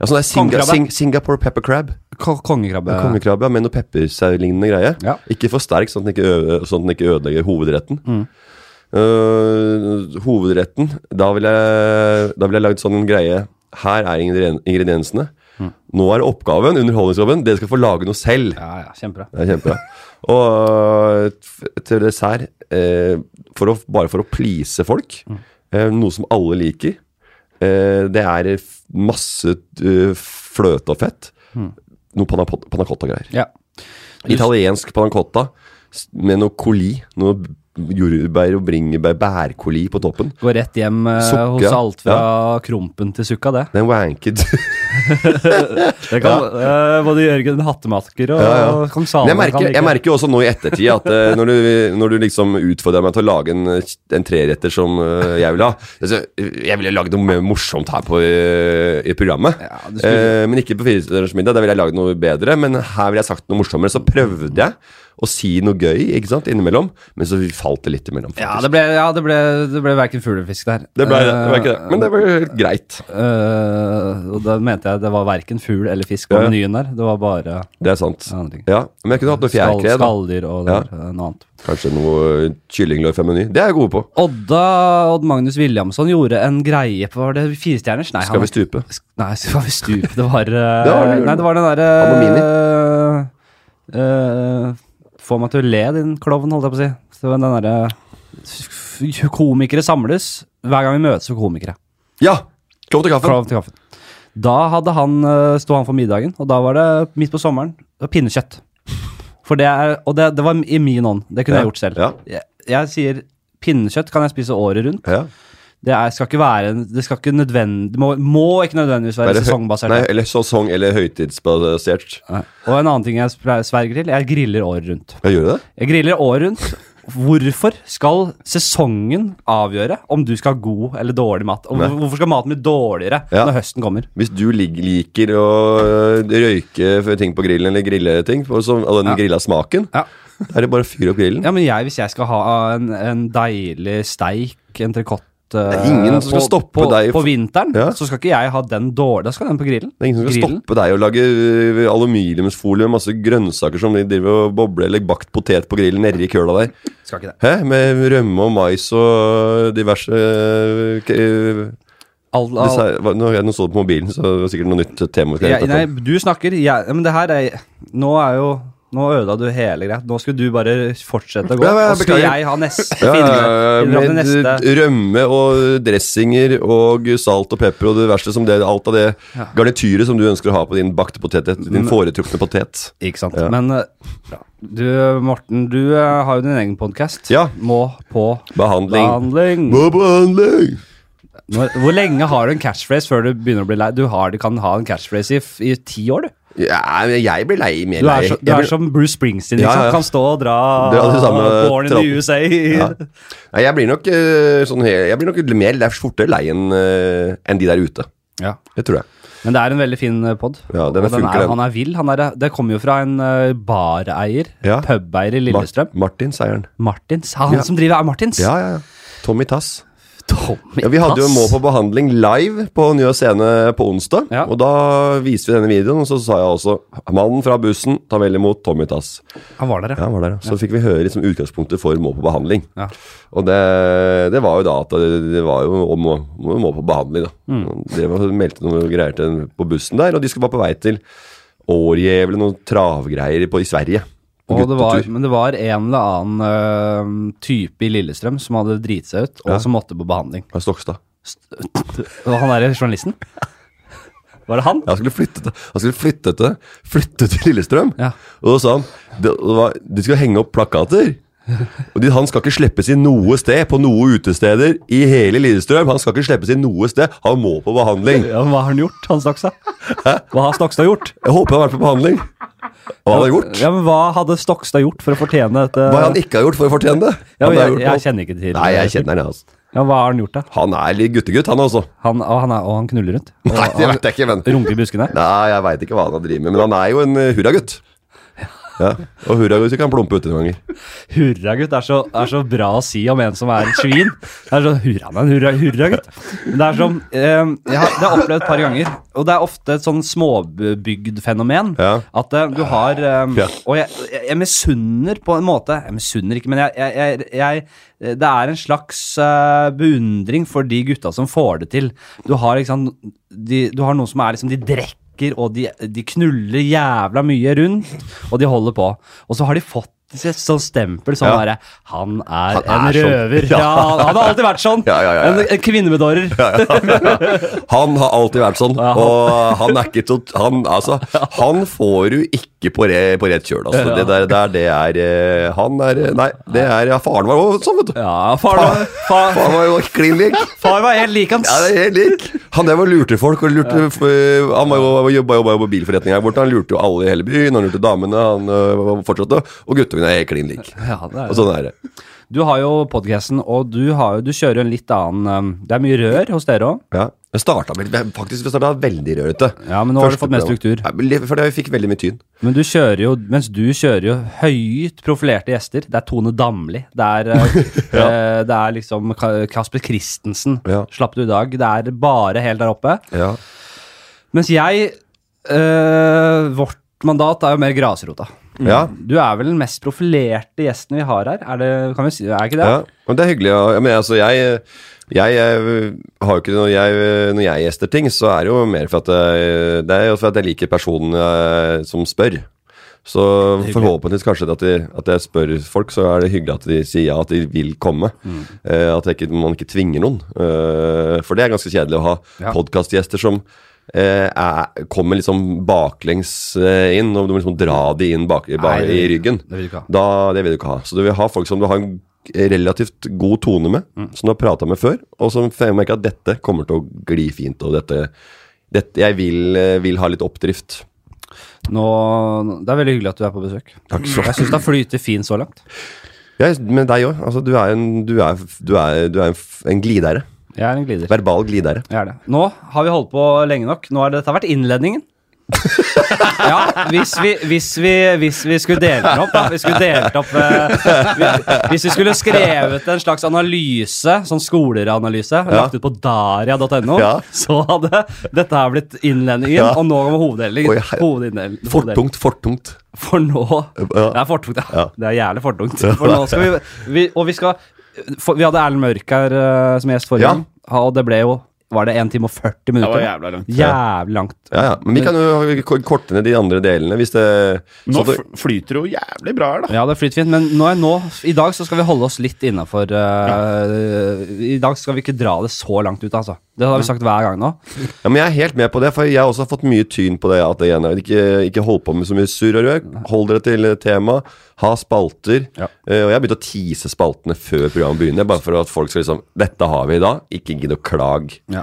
ja, sånn der Singa,
Kongekrabbe.
Sing, Singapore pepper crab.
Ko- Kongekrabbe.
Kongekrabbe ja, med noe peppersau-lignende greie.
Ja.
Ikke for sterk, sånn at den ikke, ø- sånn at den ikke ødelegger hovedretten.
Mm.
Eh, hovedretten Da ville jeg, da vil jeg lagd sånn greie Her er ingredien- ingrediensene.
Mm.
Nå er oppgaven, underholdningsjobben, dere skal få lage noe selv.
Ja, ja, kjempebra.
Det er kjempebra. Og eh, f- til dessert, eh, for å, bare for å please folk, eh, noe som alle liker, eh, det er f- masse eh, fløte og fett. Noe panna panacotta-greier.
Ja.
Italiensk panacotta med noe coli. Noe b- jordbær og bringebær, bærcoli på toppen.
Gå rett hjem eh,
Sukke,
hos
ja.
alt fra Krompen til Sukka, det.
Den wanket.
Det kan eh, både Jørgen Hattemaker og kong
Men
Salman
jeg merker,
kan like.
jeg merker jo også nå i ettertid at eh, når, du, når du liksom utfordrer meg til å lage en, en treretter som eh, jeg vil ha altså, Jeg ville lagd noe mer morsomt her på, eh, i programmet.
Ja, du skulle-
Eh, men ikke på Firestjerners middag. Der ville jeg lagd noe bedre. Men her ville jeg sagt noe morsommere. Så prøvde jeg, og si noe gøy ikke sant, innimellom. Men så falt det litt imellom,
Ja,
faktisk.
det ble, ja, det ble, det ble verken fugl eller fisk der.
det ble det. det, ble ikke det. Men det var jo helt greit.
Eh, og da mente jeg det var verken fugl eller fisk på
Ja.
menyen der. Det var bare
Det er sant.
andre ting.
Ja, Men jeg kunne hatt noe
Skal,
fjærkre. da.
skalldyr og det
Ja.
var, eh, noe annet.
Kanskje noe kyllinglår fra Meny. Det er jeg gode på.
Odda Odd Magnus Williamson gjorde en greie på Var det Firestjerners? Nei,
Skal vi stupe?
Sk-
*laughs*
Nei, skal vi stupe Det var, eh,
Det var det.
Nei, det var den derre eh, Få meg til å le, din klovn, holdt jeg på å si. Så den derre f- f- Komikere samles hver gang vi møtes som komikere.
Ja! Klov til kaffen.
Klovn til kaffen. Da hadde han, eh, sto han for middagen, og da var det midt på sommeren det var pinnekjøtt. For det er, og det, det var i min ånd. Det kunne
Ja,
jeg gjort selv.
ja.
Jeg, jeg sier pinnekjøtt kan jeg spise året rundt.
Ja.
Det er, skal ikke være en- Det skal ikke nødvendig, må, må ikke nødvendigvis være
Bare hø-
sesongbasert.
Nei, eller sesong- eller høytidsbasert.
Nei. Og en annen ting jeg spre- sverger til, jeg griller året rundt.
Ja, gjør du det?
Jeg griller året rundt. Hvorfor skal sesongen avgjøre om du skal ha god eller dårlig mat? Og
Nei.
hvor- hvorfor skal maten bli dårligere
Ja.
når høsten kommer?
Hvis du lig- liker å øh, røyke f- ting på grillen, eller grille ting, og så- og den grilla smaken,
Ja.
da er det bare å fyre opp grillen.
Ja, men jeg, hvis jeg skal ha en, en deilig steik, en trikott eh,
er ingen som skal stoppe
på,
deg
På
for-
vinteren,
Ja.
så skal ikke jeg ha den dårlig. Da skal den på grillen.
Det er ingen som skal
Grillen.
stoppe deg å lage øh, aluminiumsfolie med masse grønnsaker som de driver og bobler, eller bakt potet på grillen nedi køla der.
Skal ikke det.
Hæ? Med rømme og mais og diverse øh, k- øh,
All, all,
dessert- hva- Nå, jeg- nå så det på mobilen, så det var sikkert noe nytt tema. vi skal
Jeg,
hente
nei,
på.
du snakker jeg, Men det her er Nå er jo Nå ødela du hele greia. Nå skulle du bare fortsette å gå.
Ja, ja,
og så skulle
beklager.
jeg ha neste
Ja,
finne
ja, ja,
finne fram til
med
neste.
rømme og dressinger og salt og pepper og det verste som det, alt av det garnityret som du ønsker å ha på din bakte potet, din foretrukne potet.
Ikke sant.
Ja.
Men eh, du, Morten, du eh, har jo din egen podkast.
Ja.
Må på
Behandling.
behandling.
Må behandling!
Når, hvor lenge har du en catchphrase før du begynner å bli lei? Du har, du kan ha en catchphrase i, f- i ti år, du.
Ja, men jeg blir lei mer
Du
lei.
er, så, du
Jeg
er
blir-
som Bruce Springsteen,
Ja,
liksom.
ja.
Kan stå og dra
Det er det samme
Born in the
tratten.
USA.
Ja. Nei, jeg blir nok eh, sånn he- Jeg blir nok mer lei, fortere lei enn eh, enn de der ute.
Ja.
Det tror jeg.
Men det er en veldig fin eh, pod.
Ja, den
og den
funker,
er,
den.
han er vill. Han er, det kommer jo fra en eh, bareier,
Ja.
pubeier i
Mar-
Lillestrøm.
Martin Seieren.
Martins. Han
Ja.
som driver er Martins?
Ja, ja, ja. Tommy Tass.
Tommy
Ja, vi hadde jo
Tass.
Må på behandling live på Njø scene på onsdag.
Ja.
Og da viste vi denne videoen, og så sa jeg også 'Mannen fra bussen tar vel imot Tommy Tass'.
Han var der,
Ja,
ja.
han var der, ja. Så fikk vi høre liksom utgangspunktet for Må på behandling.
Ja.
Og det, det var jo da at det, det var jo om Må, må på behandling, da.
Mm.
Det var, meldte noen greier til den på bussen der, og de skulle bare på vei til Årjævlen og travgreier på, i Sverige. På
Og det var,
guttetur.
men det var en eller annen eh, type i Lillestrøm som hadde driti seg ut, og som måtte på behandling.
Ja, Stokstad.
Og han derre journalisten? *laughs* Var det han?
Han skulle flytte til, han skulle flytte til, flytte til Lillestrøm.
Ja.
Og da sa han det var, de skal henge opp plakater. Og de, Han skal ikke slippes inn noe sted, på noen utesteder i hele Lillestrøm. Han skal ikke slippes inn noe sted. Han må på behandling.
Ja, men Hva har han gjort, han Stokstad? Hva har Stokstad gjort?
Jeg håper han har vært på behandling. Hva han har gjort?
Ja, men Hva hadde Stokstad gjort for å fortjene dette?
Hva han ikke har gjort for å fortjenne det?
ja, men
Han har
jeg,
gjort
jeg
noe-
kjenner ikke til
Nei, jeg kjenner han, altså.
Ja, Hva har han gjort, da?
Han er litt guttegutt, han også.
Han, og, han er, og han knuller rundt. Og,
Nei, det vet jeg ikke, men
Runker i buskene.
Nei, jeg veit ikke hva han driver med, men han er jo en eh, hurragutt. Ja, og hurragutter kan plumpe ute noen ganger.
Hurra, gutt. Det er så, er så bra å si om en som er et svin. Det er sånn, hurra, han er en hurra, hurra, gutt. Men Det er som eh, jeg har, Det har jeg opplevd et par ganger, og det er ofte et sånn småbygdfenomen.
Ja.
At eh, du har eh,
Ja.
Og jeg, jeg, jeg misunner på en måte Jeg misunner ikke, men jeg, jeg, jeg, jeg Det er en slags eh, beundring for de gutta som får det til. Du har, ikke sant, de, du har noen som er liksom De drekker. Og de, de knuller jævla mye rundt, og de holder på. Og så har de fått et sånt stempel sånn
Ja.
derre Han er,
Han er
en
sånn.
røver.
Ja.
Ja. han har alltid vært sånn.
Ja, ja, ja, ja.
En, en kvinnemedårer.
Han har alltid vært sånn,
Ja, han-
og han er ikke tot- han, altså, han får du ikke på, re, på rett kjøl, altså. Det der, der, det er eh, Han er eh, Nei, det er ja, Faren var også sånn, vet du.
Ja, far, var- far,
Faren var jo klin lik.
far var helt lik hans.
Ja, det er helt lik. Han der var lurte folk. Og lurte, f- eh, han var jo- jobba jo bare på bilforretning her borte. Han lurte jo alle i hele byen. Han lurte damene. Han eh, fortsatte. Og guttungen er helt klin lik.
Ja, det er-
Og sånn er det.
Du har jo podcasten, og du, har jo, du kjører jo en litt annen um, Det er mye rør hos dere òg.
Ja. Jeg startet med, jeg- faktisk vi startet veldig rørete.
Ja, men nå har du
Første
fått mer
program.
struktur.
Ja, men litt- fordi jeg fikk veldig mye tyn.
Men du kjører jo, mens du kjører jo høyt profilerte gjester. Det er Tone Damli. Det er,
*laughs*
eh, eh, det er liksom Ka- Kasper Christensen.
Ja.
Slapp du i dag? Det er bare helt der oppe.
Ja.
Mens jeg eh, Vårt mandat er jo mer grasrota.
Ja.
Du er vel den mest profilerte gjesten vi har her? Er det, kan vi si, er ikke det?
Ja, men det er hyggelig. Ja. Ja, Men altså, jeg, jeg, jeg har jo ikke når jeg, når jeg gjester ting, så er det jo mer for at jeg, det er jo for at jeg liker personen jeg, som spør. Så forhåpentligvis kanskje det at, de, at jeg spør folk, så er det hyggelig at de sier ja, at de vil komme.
Mm.
Eh, at jeg ikke, man ikke tvinger noen. Eh, for det er ganske kjedelig å ha
Ja.
podcastgjester som eh, er, kommer liksom baklengs eh, inn, og du må liksom dra de inn bak,
Nei,
bare
det-
i ryggen.
Det vil du ikke ha.
Da, det vil du ikke ha. Så du vil ha folk som du har en relativt god tone med,
Mm.
som du har prata med før, og som får merke at dette kommer til å gli fint, og dette, dette Jeg vil, eh, vil ha litt oppdrift.
Nå, det er veldig hyggelig at du er på besøk.
Takk skal
Jeg syns det har flytet fint så langt.
Ja, men deg òg. Altså, du er en, du er, du er, du er en, f- en glidere.
Jeg er en glider.
Verbal glidere.
Jeg er det. Nå har vi holdt på lenge nok. Nå har dette vært innledningen. Ja, hvis vi, hvis, vi, hvis vi skulle dele den opp, da. Hvis vi, skulle delt opp eh, vi- hvis vi skulle skrevet en slags analyse, sånn skoleranalyse, lagt ut på daria.no,
Ja.
så hadde dette her blitt innledningen,
Ja.
og nå kommer hoveddelen.
Oi, hei.
Hovedinndelingen.
Fortungt, fortungt.
For nå
Ja.
Det er fortungt, ja.
Ja.
Det er jævlig fortungt. For nå skal vi, vi Og vi skal for, Vi hadde Erlend Mørk her eh, som gjest forrige
Ja.
gang, Ha, og det ble jo Var det 1 time og 40
Det var
minutter?
jævla langt.
Jævlig langt.
Ja, ja. Men vi kan jo k- korte ned de andre delene hvis det
Nå
så det-
f- flyter det jo jævlig bra her, da.
Ja, det flyter fint, men nå er nå, i dag så skal vi holde oss litt innafor eh, I dag skal vi ikke dra det så langt ut, altså. Det har vi sagt hver gang nå.
Ja, men Jeg er helt med på det, for jeg har også fått mye tyn på det. at det ene, Ikke, ikke hold på med så mye surr og røk. Hold dere til tema. Ha spalter.
Ja.
Eh, og jeg har begynt å tease spaltene før programmet begynner, bare for at folk skal liksom Dette har vi i dag. Ikke gidd å klage.
Ja.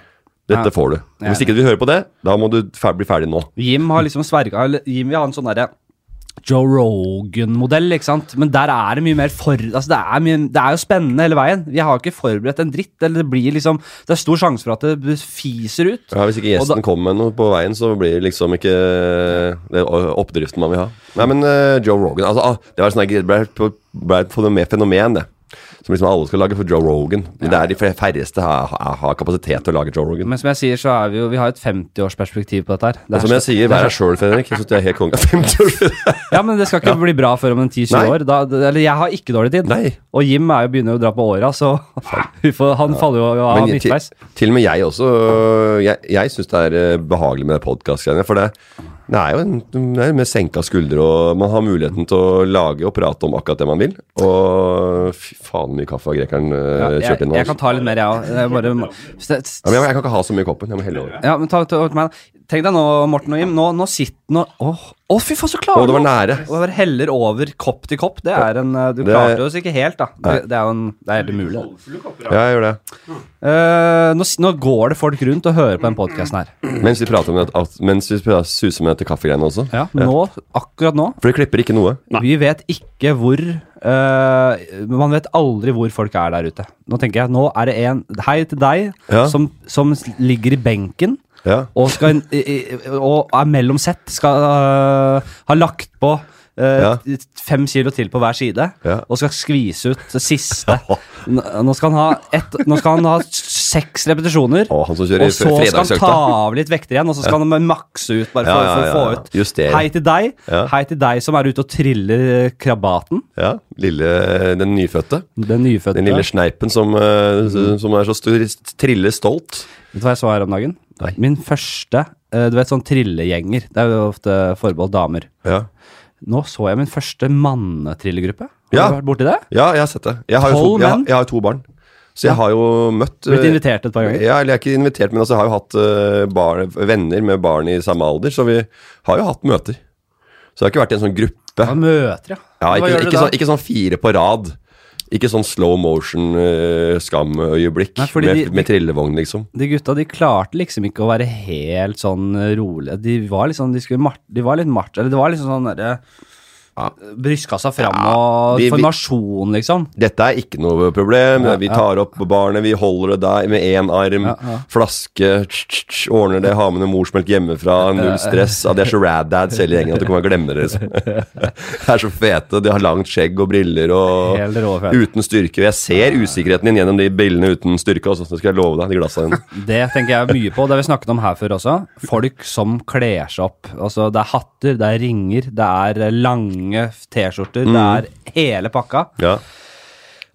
Dette
Ja.
får du.
Ja.
Hvis ikke du vil høre på det, da må du fer bli ferdig nå.
Jim har liksom sverga eller Jim vil ha en sånn derre Joe Rogan-modell, ikke sant? Men der er det mye mer for... Altså, det er, mye, det er jo spennende hele veien. Vi har jo ikke forberedt en dritt, eller det blir liksom... Det er stor sjanse for at det fiser ut.
Ja, hvis
Og
ikke
da-
gjesten kommer med noe på veien, så blir det liksom ikke det oppdriften man vil ha. Nei, men eh, Joe Rogan altså, ah, Det var sånn her- det ble, på- ble et fenomen- fenomen, det. Som liksom alle skal lage for Joe Rogan. Men det er de færreste har, har- har kapasitet til å lage Joe Rogan.
Men som jeg sier, så er vi jo... Vi har et 50-årsperspektiv på dette her. Det
Men
er
som jeg
så-
sier, vær deg sjøl, Fredrik. Jeg syns du er
*laughs*
helt konge. 50 år.
Ja, men det skal ikke bli bra før om en 10-20
Nei.
år. Da, eller jeg har ikke dårlig tid.
Nei.
Og Jim er jo begynner jo å dra på åra, så *laughs* vi får, han faller jo av
Men til,
midtveis.
til og med jeg også øh, Jeg, jeg syns det er øh, behagelig med podkast-greiene. For det, det er jo en, det er med senka skuldre, og man har muligheten til å lage og prate om akkurat det man vil. Og fy faen mye kaffe har grekeren øh,
Ja, jeg,
kjørt inn.
jeg
altså.
kan ta litt mer, jeg òg.
Ja, men jeg, jeg kan ikke ha så mye i koppen. Jeg må helle over.
Ja, men ta, ta, ta meg da. Tenk deg nå, Morten og Jim. Nå, nå sitter nå Å, å, fy faen, så
Å,
klarer
det var
du å-
nære.
Å bare heller over kopp til kopp, det er en eh, Du
Det-
klarte oss ikke helt, da. Det, det er jo en Det er helt umulig.
Ja, jeg gjør det.
Eh, nå, s- nå går det folk rundt og hører på den podkasten her.
Mens vi prater om det, at, mens vi pra- suser med dette kaffegreiene også.
Ja, nå, akkurat nå
For de klipper ikke noe.
Vi vet ikke hvor eh, Man vet aldri hvor folk er der ute. Nå tenker jeg, nå er det en Hei til deg
Ja.
som, som ligger i benken.
Ja.
og, skal, i- i- og er mellom sett skal øh, ha lagt på øh,
Ja.
t- fem kilo til på hver side,
Ja.
og skal skvise ut det
*laughs*
siste. N- Nå skal han ha, ett- nå skal han ha seks repetisjoner,
Å, han som kjører
og så
fre-
skal han
fredagsøkta.
ta av litt vekter igjen, og så skal han makse ut bare for,
Ja, ja,
for
ja, ja.
å få ut.
Justere.
Hei til deg.
Ja.
Hei til deg som er ute og triller øh, krabaten.
Ja, lille, den nyfødte.
Den nyfødte.
Den lille sneipen som, øh, som er så stor, triller stolt.
Vet du hva jeg så her om dagen?
Nei.
Min første øh, Du vet sånn trillegjenger. Det er jo ofte forbeholdt damer.
Ja.
Nå så jeg min første mannetrillegruppe. Har
Ja.
du vært borti det?
Ja, jeg har sett det. Jeg har jo to,
Tolv
jeg, har-
menn?
jeg har jo to barn. Så jeg har jo møtt
Blitt
eh,
invitert et par ganger.
Ja, eller jeg er ikke invitert, men altså, jeg har jo hatt eh, barn, venner med barn i samme alder, så vi har jo hatt møter. Så jeg har ikke vært i en sånn gruppe.
Ja, møter, ja.
Ja,
Hva
ikke,
gjør du
ikke,
da?
sånn, ikke sånn fire på rad. Ikke sånn slow motion eh, skamøyeblikk
Nei, fordi
med,
de-
med trillevogn, liksom.
De gutta de klarte liksom ikke å være helt sånn eh, rolig. De var liksom, de skulle mart, de var litt mart, eller det var liksom sånn derre brystkassa fram
Ja,
og
vi- vi-
formasjon, liksom.
Dette er ikke noe problem.
Ja,
Vi tar opp barnet, vi holder det der med én arm.
Ja, ja.
Flaske, tsk, tsk, tsk, ordner det, har med noe morsmelk hjemmefra. Null stress. Ja, de er så rad-dads hele gjengen at du kommer til å glemme det. liksom. *laughs* De er så fete, de har langt skjegg og briller og
Helt rå fett.
uten styrke. Jeg ser usikkerheten din gjennom de brillene uten styrke. Også. Det skal jeg love deg, de
*laughs*
glassa dine.
Det tenker jeg mye på. Det har vi snakket om her før også. Folk som kler seg opp. Altså, det er hatter, det er ringer, det er lange T-skjorter, det
Mm.
er hele pakka.
Ja.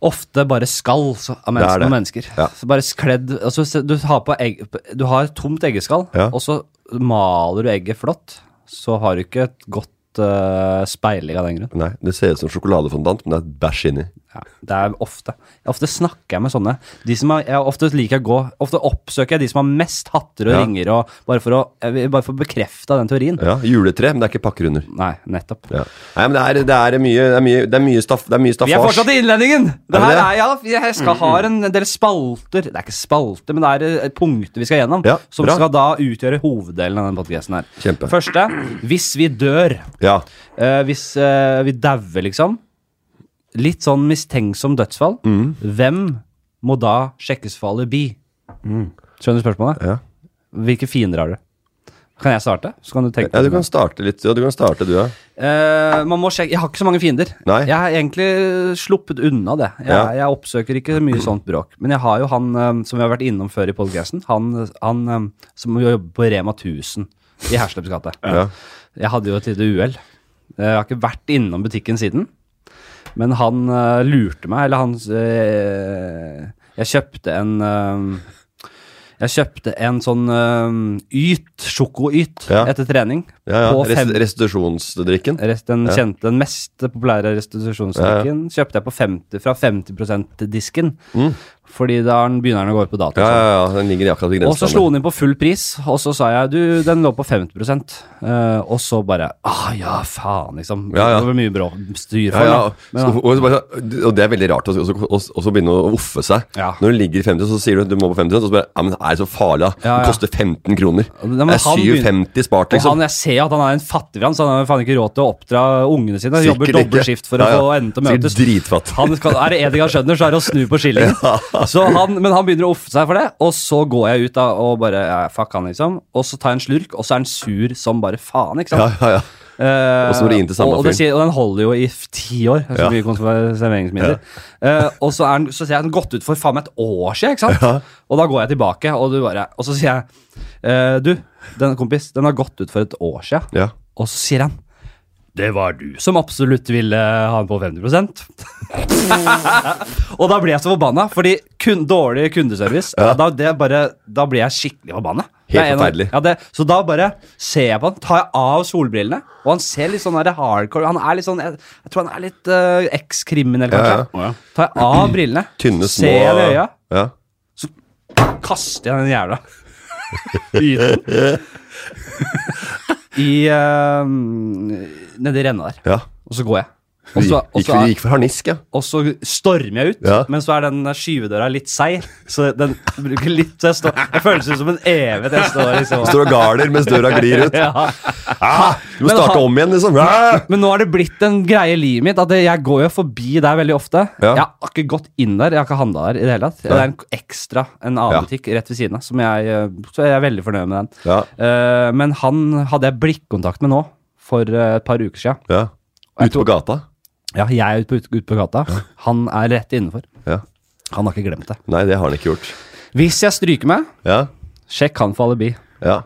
Ofte bare skall så- av
Det er
mennesker,
det.
noen mennesker.
Ja.
Så bare skledd altså, se- du, har på egg, du har tomt eggeskall,
Ja.
og så maler du egget flott. Så har du ikke et godt eh, speiling av den grunn.
Nei, det ser ut som sjokoladefondant, men det er bæsj inni.
Ja, det er ofte. Ofte snakker jeg med sånne. De som har, jeg ofte liker å gå Ofte oppsøker jeg de som har mest hatter og
Ja.
ringer, og bare for å jeg vil bare for å bekrefte den teorien.
Ja, Juletre, men det er ikke pakker under.
Nei, nettopp.
Ja. Nei, men det er, det er mye, det er mye, det er mye, staff, det er mye
Vi er
staffasje.
fortsatt i innledningen! Det
Er vi
her
det?
er, ja, jeg skal ha en del spalter Det er ikke spalter, men det er eh, punkter vi skal gjennom.
Ja,
som
bra.
skal da utgjøre hoveddelen av denne podcasten her.
Kjempe.
Første Hvis vi dør.
Ja.
eh, hvis eh, vi dauer, liksom. Litt sånn mistenksom dødsfall.
Mm.
Hvem må da sjekkes for alibi? Skjønner du spørsmålet?
Mm. Ja.
Hvilke fiender har du? Kan jeg starte? Så kan du tenke
ja, du
på det.
kan starte litt. Ja, du kan starte, du, ja.
Eh, man må sjekke Jeg har ikke så mange fiender.
Nei.
Jeg har egentlig sluppet unna det. Jeg,
Ja.
jeg oppsøker ikke mye sånt bråk. Men jeg har jo han eh, som vi har vært innom før i podcasten, han, han eh, som jo jobber på Rema 1000 i Hersleps gate.
*laughs* Ja.
Jeg hadde jo et lite uhell. Eh, Jeg har ikke vært innom butikken siden. Men han eh, lurte meg, eller han eh, Jeg kjøpte en eh, jeg kjøpte en sånn eh, yt, sjokoyt,
Ja.
etter trening.
Ja, ja.
På
Rest,
fem,
restitusjonsdrikken.
Rest, den,
Ja.
kjente, den mest populære restitusjonsdrikken kjøpte jeg på 50, fra 50%-disken. Fordi da er den- begynner den å gå ut på dato.
Mm.
sånn.
Ja, ja, ja. Den ligger akkurat i
Og så slo
grenselandet.
den inn på full pris, og så sa jeg du, den lå på 50 eh, Og så bare ah, ja, faen, liksom.
Ja, ja.
Det var mye brå styr for
Ja, ja.
den, da. Men,
Så, og, så bare, og det er veldig rart å så- og så- og så begynne å offe seg.
Ja.
Når du ligger i 50, så sier du at du må på 50, og så bare Ja, men det er så farlig, da.
Ja, ja.
Det koster 15 kroner.
men han
det er 57 spart,
Og han,
liksom.
jeg ser at han er en fattig mann, så han har faen ikke råd til å oppdra ungene sine. Han
Sikkert
jobber
ikke.
dobbeltskift for
Ja, ja.
å få endene til å
Sikkert
møtes.
dritfattig.
Han skal, er det en ting han skjønner, så er det å snu på skillingen. Så han, men han begynner å offe seg for det, og så går jeg ut da, og bare ja, fuck han, liksom. Og så tar jeg en slurk, og så er han sur som bare faen, ikke sant.
Ja, ja, ja.
Eh,
Og så må du inn til samme
og, og, det
fyren.
sier- og den holder jo i f- ti år. Det er Så
Ja.
mye konserveringsmidler. Eh, og så, er den, så ser jeg den gått ut for faen meg et år siden, ikke sant? Og da går jeg tilbake, og, du bare, og så sier jeg eh, Du, den kompis, den har gått ut for et år siden.
ja.
Og så sier han Det var du som absolutt ville ha den på 50 *laughs* Og da ble jeg så forbanna, fordi kun, dårlig kundeservice da, det bare, da ble jeg skikkelig forbanna. Det er en av-
forferdelig.
Ja, det, så da bare ser jeg på han, tar jeg av solbrillene, og han ser litt sånn der hardcore Han er litt sånn Jeg, jeg tror han er litt eh, ekskriminell, kanskje.
Å, ja.
Tar jeg av brillene,
Tynne, små
ser jeg det i øya,
Ja.
kaster jeg den jævla *laughs* yten
*laughs*
i eh, Nedi renna der.
ja.
Og så går jeg. Og
Du
så,
gikk,
og
gikk,
så, er,
gikk for harnisk, ja.
og så stormer jeg ut,
Ja.
men så er den skyvedøra litt seig. Så den bruker litt så jeg, står, jeg føles ut som en evighet jeg står liksom
Står og garder mens døra glir ut.
*laughs* ja.
Ah, du må
Men
starte
han-
om igjen, liksom. Ah!
Men nå har det blitt en greie i livet mitt at det- jeg går jo forbi der veldig ofte.
Ja.
Jeg har ikke gått inn der, jeg har ikke handla der i det hele tatt. Det er en ekstra, en annen
Ja.
butikk rett ved siden av, som jeg, eh, så jeg er veldig fornøyd med den.
Ja.
Eh, men han hadde jeg blikkontakt med nå, for eh, et par uker sia.
Ja. Ute på gata.
Ja, jeg er ute på, ut, ut på gata, han er rett innenfor.
Ja.
Han har ikke glemt det.
Nei, det har han ikke gjort.
Hvis jeg stryker meg,
Ja.
sjekk han for alibi.
Ja.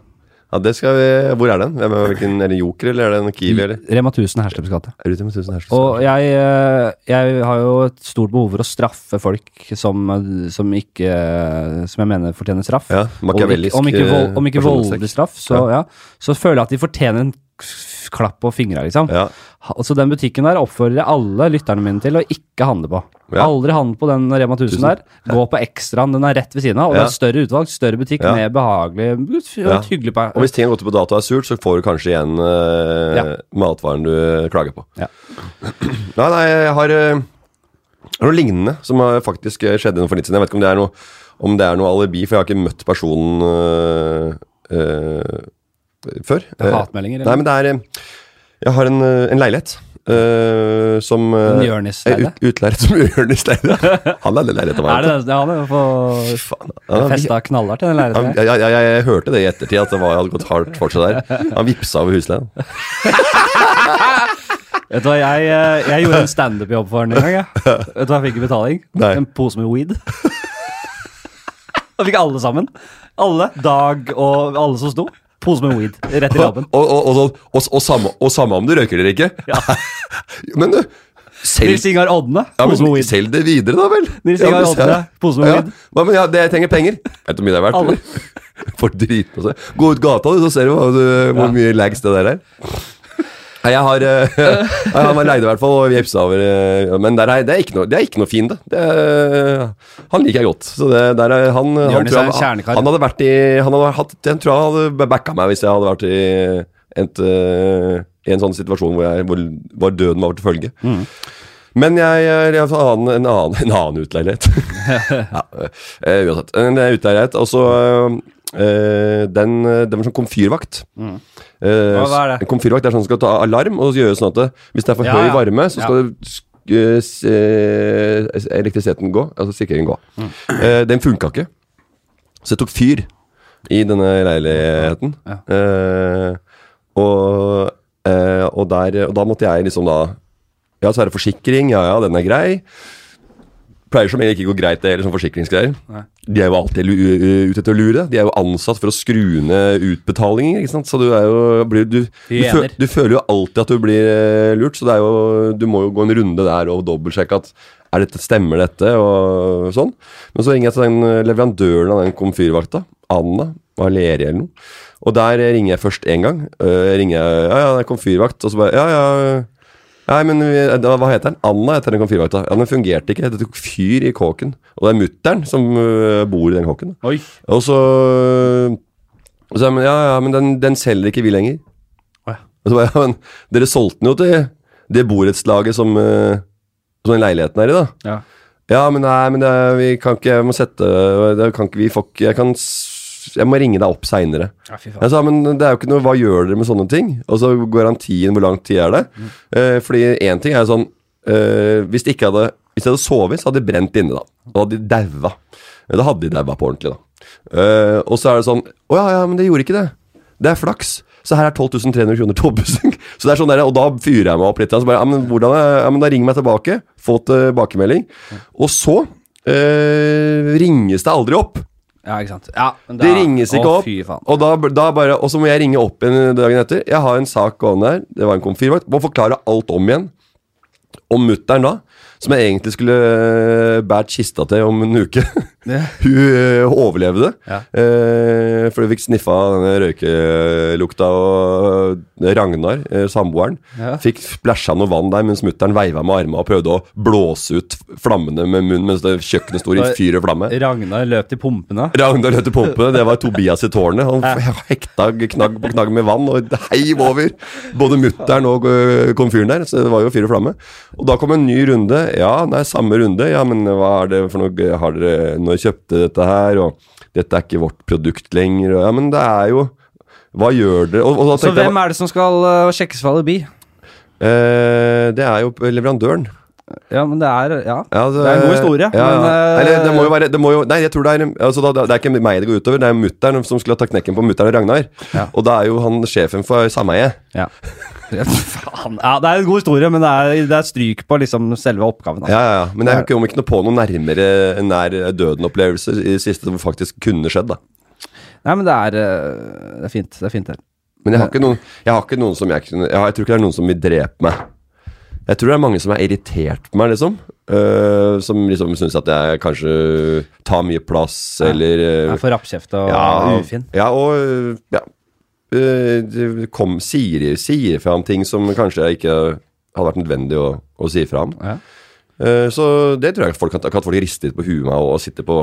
ja, det skal vi Hvor er den? Hvem er, hvilken, er det Joker, eller er det en Kiwi, eller?
Rema 1000 Hersleps gate.
Er det ute med tusen herser?
Og jeg, eh, jeg har jo et stort behov for å straffe folk som, eh, som ikke eh, Som jeg mener fortjener straff.
Ja, makiavellisk,
Om ikke, om ikke, vold, om ikke
eh, personlig
voldelig
sekk.
straff, så, ja. så føler jeg at de fortjener en k- klapp på fingra, liksom.
Ja.
Ha- Så den butikken der oppfordrer jeg alle lytterne mine til å ikke handle på.
Ja.
Aldri handle på den Rema 1000 der. Gå på Extraen, den er rett ved siden av. Og
Ja.
det er større utvalg, større butikk,
Ja.
mer behagelig og et
Ja.
hyggelig pa-
Og hvis ting har gått ut på dato og er surt, så får du kanskje igjen eh,
Ja.
matvaren du eh, klager på.
Ja.
*clears throat* Nei, nei, jeg har eh, det er noe lignende som har faktisk eh, skjedd for litt siden. Jeg vet ikke om det er noe, om det er noe alibi, for jeg har ikke møtt personen eh, eh, før.
Det er hatmeldinger, eller?
Nei, men det er eh, Jeg har en, eh, en leilighet eh, som
En
eh,
Jonis-leide?
ut- Utleiet som *laughs* Jørnisleide. Han leide leilighet av
Er
meg.
det den? Ja, han er jo på
Faen, han, han,
festa knallhardt i den
han,
leiligheten.
jeg, jeg, jeg, jeg hørte det i ettertid, at det var, hadde gått hardt for seg der. Han vippsa over husleien.
Vet du hva, jeg, eh, jeg gjorde en standup-jobb for han en gang. Jeg. Vet du hva jeg fikk i betaling?
Nei.
En pose med weed. Da fikk alle sammen. Alle. Dag og alle som sto. Pose med weed rett i
Og,
labben.
og, og, og, og, og, samme, og samme om du røyker eller ikke.
Ja.
Men du,
Nils
selg,
Ingar Odne,
ja,
pose med
men,
weed.
selg det videre, da vel.
Nils
Ja,
Ingar
men-
Odne, pose med
Ja,
weed.
ja, men ja, det, jeg trenger penger. Vet du hvor mye det er verdt?
Alle.
eller? *laughs* Får drit på seg. Gå ut gata, du, så ser du hva, du, hvor
Ja.
mye lags det der er. Nei, jeg har eh, *laughs* nei, Han var leid i hvert fall, og vipsa over eh, Men der er, det er ikke noe, det er ikke noe fiende. Det er- Han liker jeg godt. Så det, der er, han, han,
Jonis
tror
er en
han,
kjernekar.
han hadde vært i Han hadde hatt, den tror jeg hadde backa meg hvis jeg hadde vært i et, eh, i en sånn situasjon hvor, jeg, hvor, hvor døden var til følge.
Mm.
Men jeg, er- jeg har en annen, en annen, en annen
*laughs*
utleilighet. ja, eh, uansett. En utleilighet. Og så eh, den, den var sånn komfyrvakt. Eh,
Mm. Hva- hva er det?
en Komfyrvakt er sånn som skal ta alarm og gjøre sånn at det, hvis det er for
Ja,
høy
ja.
varme, så skal
Ja.
det sk- eh, s- eh, elektrisiteten gå, altså sikringen gå.
Mm.
Eh, den funka ikke. Så det tok fyr i denne leiligheten. Eh, og, eh, og, der, og da måtte jeg liksom da Ja, så er det forsikring. Ja, ja, den er grei. Pleier som egentlig ikke går greit, det eller sånn forsikringsgreier. De er jo alltid lu- u- u- ute etter å lure. De er jo ansatt for å skru ned utbetalinger, ikke sant. Så du er jo blir, du, du,
Hyener.
fø- du føler jo alltid at du blir eh, lurt, så det er jo, du må jo gå en runde der og dobbeltsjekke at er dette, stemmer dette, og sånn. Men så ringer jeg til den eh, leverandøren av den komfyrvakta, Anna, var ledig eller noe. Og der eh, ringer jeg først én gang. Eh, ringer jeg, Ja, ja, det er komfyrvakt. Og så bare Ja, ja. Nei, men vi, eh, da, hva heter den? Anna heter den komfyrvakta. Ja, den fungerte ikke. Det tok fyr i kåken. Og det er mutter'n som øh, bor i den kåken. da.
Oi.
Og så og så, er jeg, men, Ja, ja, men den, den selger ikke vi lenger.
Å ja.
Og så bare, ja, men dere solgte den jo til det borettslaget som, øh, som den leiligheten er i, da.
Ja.
Ja, men nei, men det, vi kan ikke Jeg må sette det kan ikke, vi får, ikke- Jeg kan s- Jeg må ringe deg opp seinere.
Ja, fy faen.
Jeg sa, men det er jo ikke noe, hva gjør dere med sånne ting? Og så garantien, hvor lang tid er det?
Mm.
Eh, fordi én ting er jo sånn eh, Hvis de ikke hadde Hvis de hadde sovet, så hadde de brent inne, da. Da hadde de daua. Da hadde de daua på ordentlig, da. Eh, og så er det sånn Å ja, ja, men det gjorde ikke det. Det er flaks. Så her er 12 300 kroner til oppussing. *laughs* Så det er sånn der, og da fyrer jeg meg opp litt. Og så bare, ja, men hvordan er, ja, men da ring meg tilbake. Få tilbakemelding. Og så eh, ringes det aldri opp.
Ja, ikke sant. Ja, men
Det
da-
ringes ikke
Å,
opp.
Fy faen.
Og, da, da bare, og så må jeg ringe opp igjen dagen etter. Jeg har en sak gående her. Det var en komfyrvakt. Må forklare alt om igjen. Og mutter'n da, som jeg egentlig skulle øh, båret kista til om en uke
*laughs*
Hun øh, overlevde.
Ja.
Eh, for hun fikk sniffa denne røykelukta, og øh, Ragnar, eh, samboeren,
Ja.
fikk splæsja noe vann der mens mutter'n veiva med armene og prøvde å blåse ut flammene med munnen mens det kjøkkenet sto i fyr og flamme.
Ragnar løp til pumpene.
Ragnar løp til pumpene, det var Tobias i tårnet. Han hekta knagg på knagg med vann og heiv over både mutter'n og øh, komfyren der. Så det var jo fyr og flamme. Og da kom en ny runde. Ja, nei, samme runde. Ja, men hva er det for noe har dere, Når kjøpte dette her? Og dette er ikke vårt produkt lenger. Og, ja, men det er jo Hva gjør dere? Og, og da
Så
tenkte jeg
hvem er det som skal øh, sjekkes for alibi?
eh, Det er jo leverandøren.
Ja, men det er Ja.
Ja, altså,
Det er en god historie,
Ja, ja.
men, eh,
Eller, det må jo være det må jo, Nei, jeg tror det er altså, da, Det er ikke meg det går utover, det er mutter'n som skulle ha tatt knekken på mutter'n og Ragnar.
Ja.
Og da er jo han sjefen for sameiet. *laughs*
Ja. Faen. ja, det er en god historie, men det er, det er stryk på liksom selve oppgaven.
Ja,
Altså.
ja, ja. Men jeg kom ikke noe på noen nærmere nær døden-opplevelse i det siste som faktisk kunne skjedd. da
Nei, men det er, øh, det er fint. Det er fint, det.
Men jeg har ikke noen, jeg har ikke noen som jeg kunne jeg, har- jeg tror ikke det er noen som vil drepe meg. Jeg tror det er mange som er irritert på meg, liksom. Øh, som liksom syns at jeg kanskje tar mye plass, eller øh,
Jeg er for rappkjeft og ufin.
Ja, og øh, ja. Øh, det Kom, sier, sier fra om ting som kanskje ikke hadde vært nødvendig å, å si fra om.
Ja.
Eh, Så det tror jeg folk kan, kan folk rister litt på huet meg og, og sitter på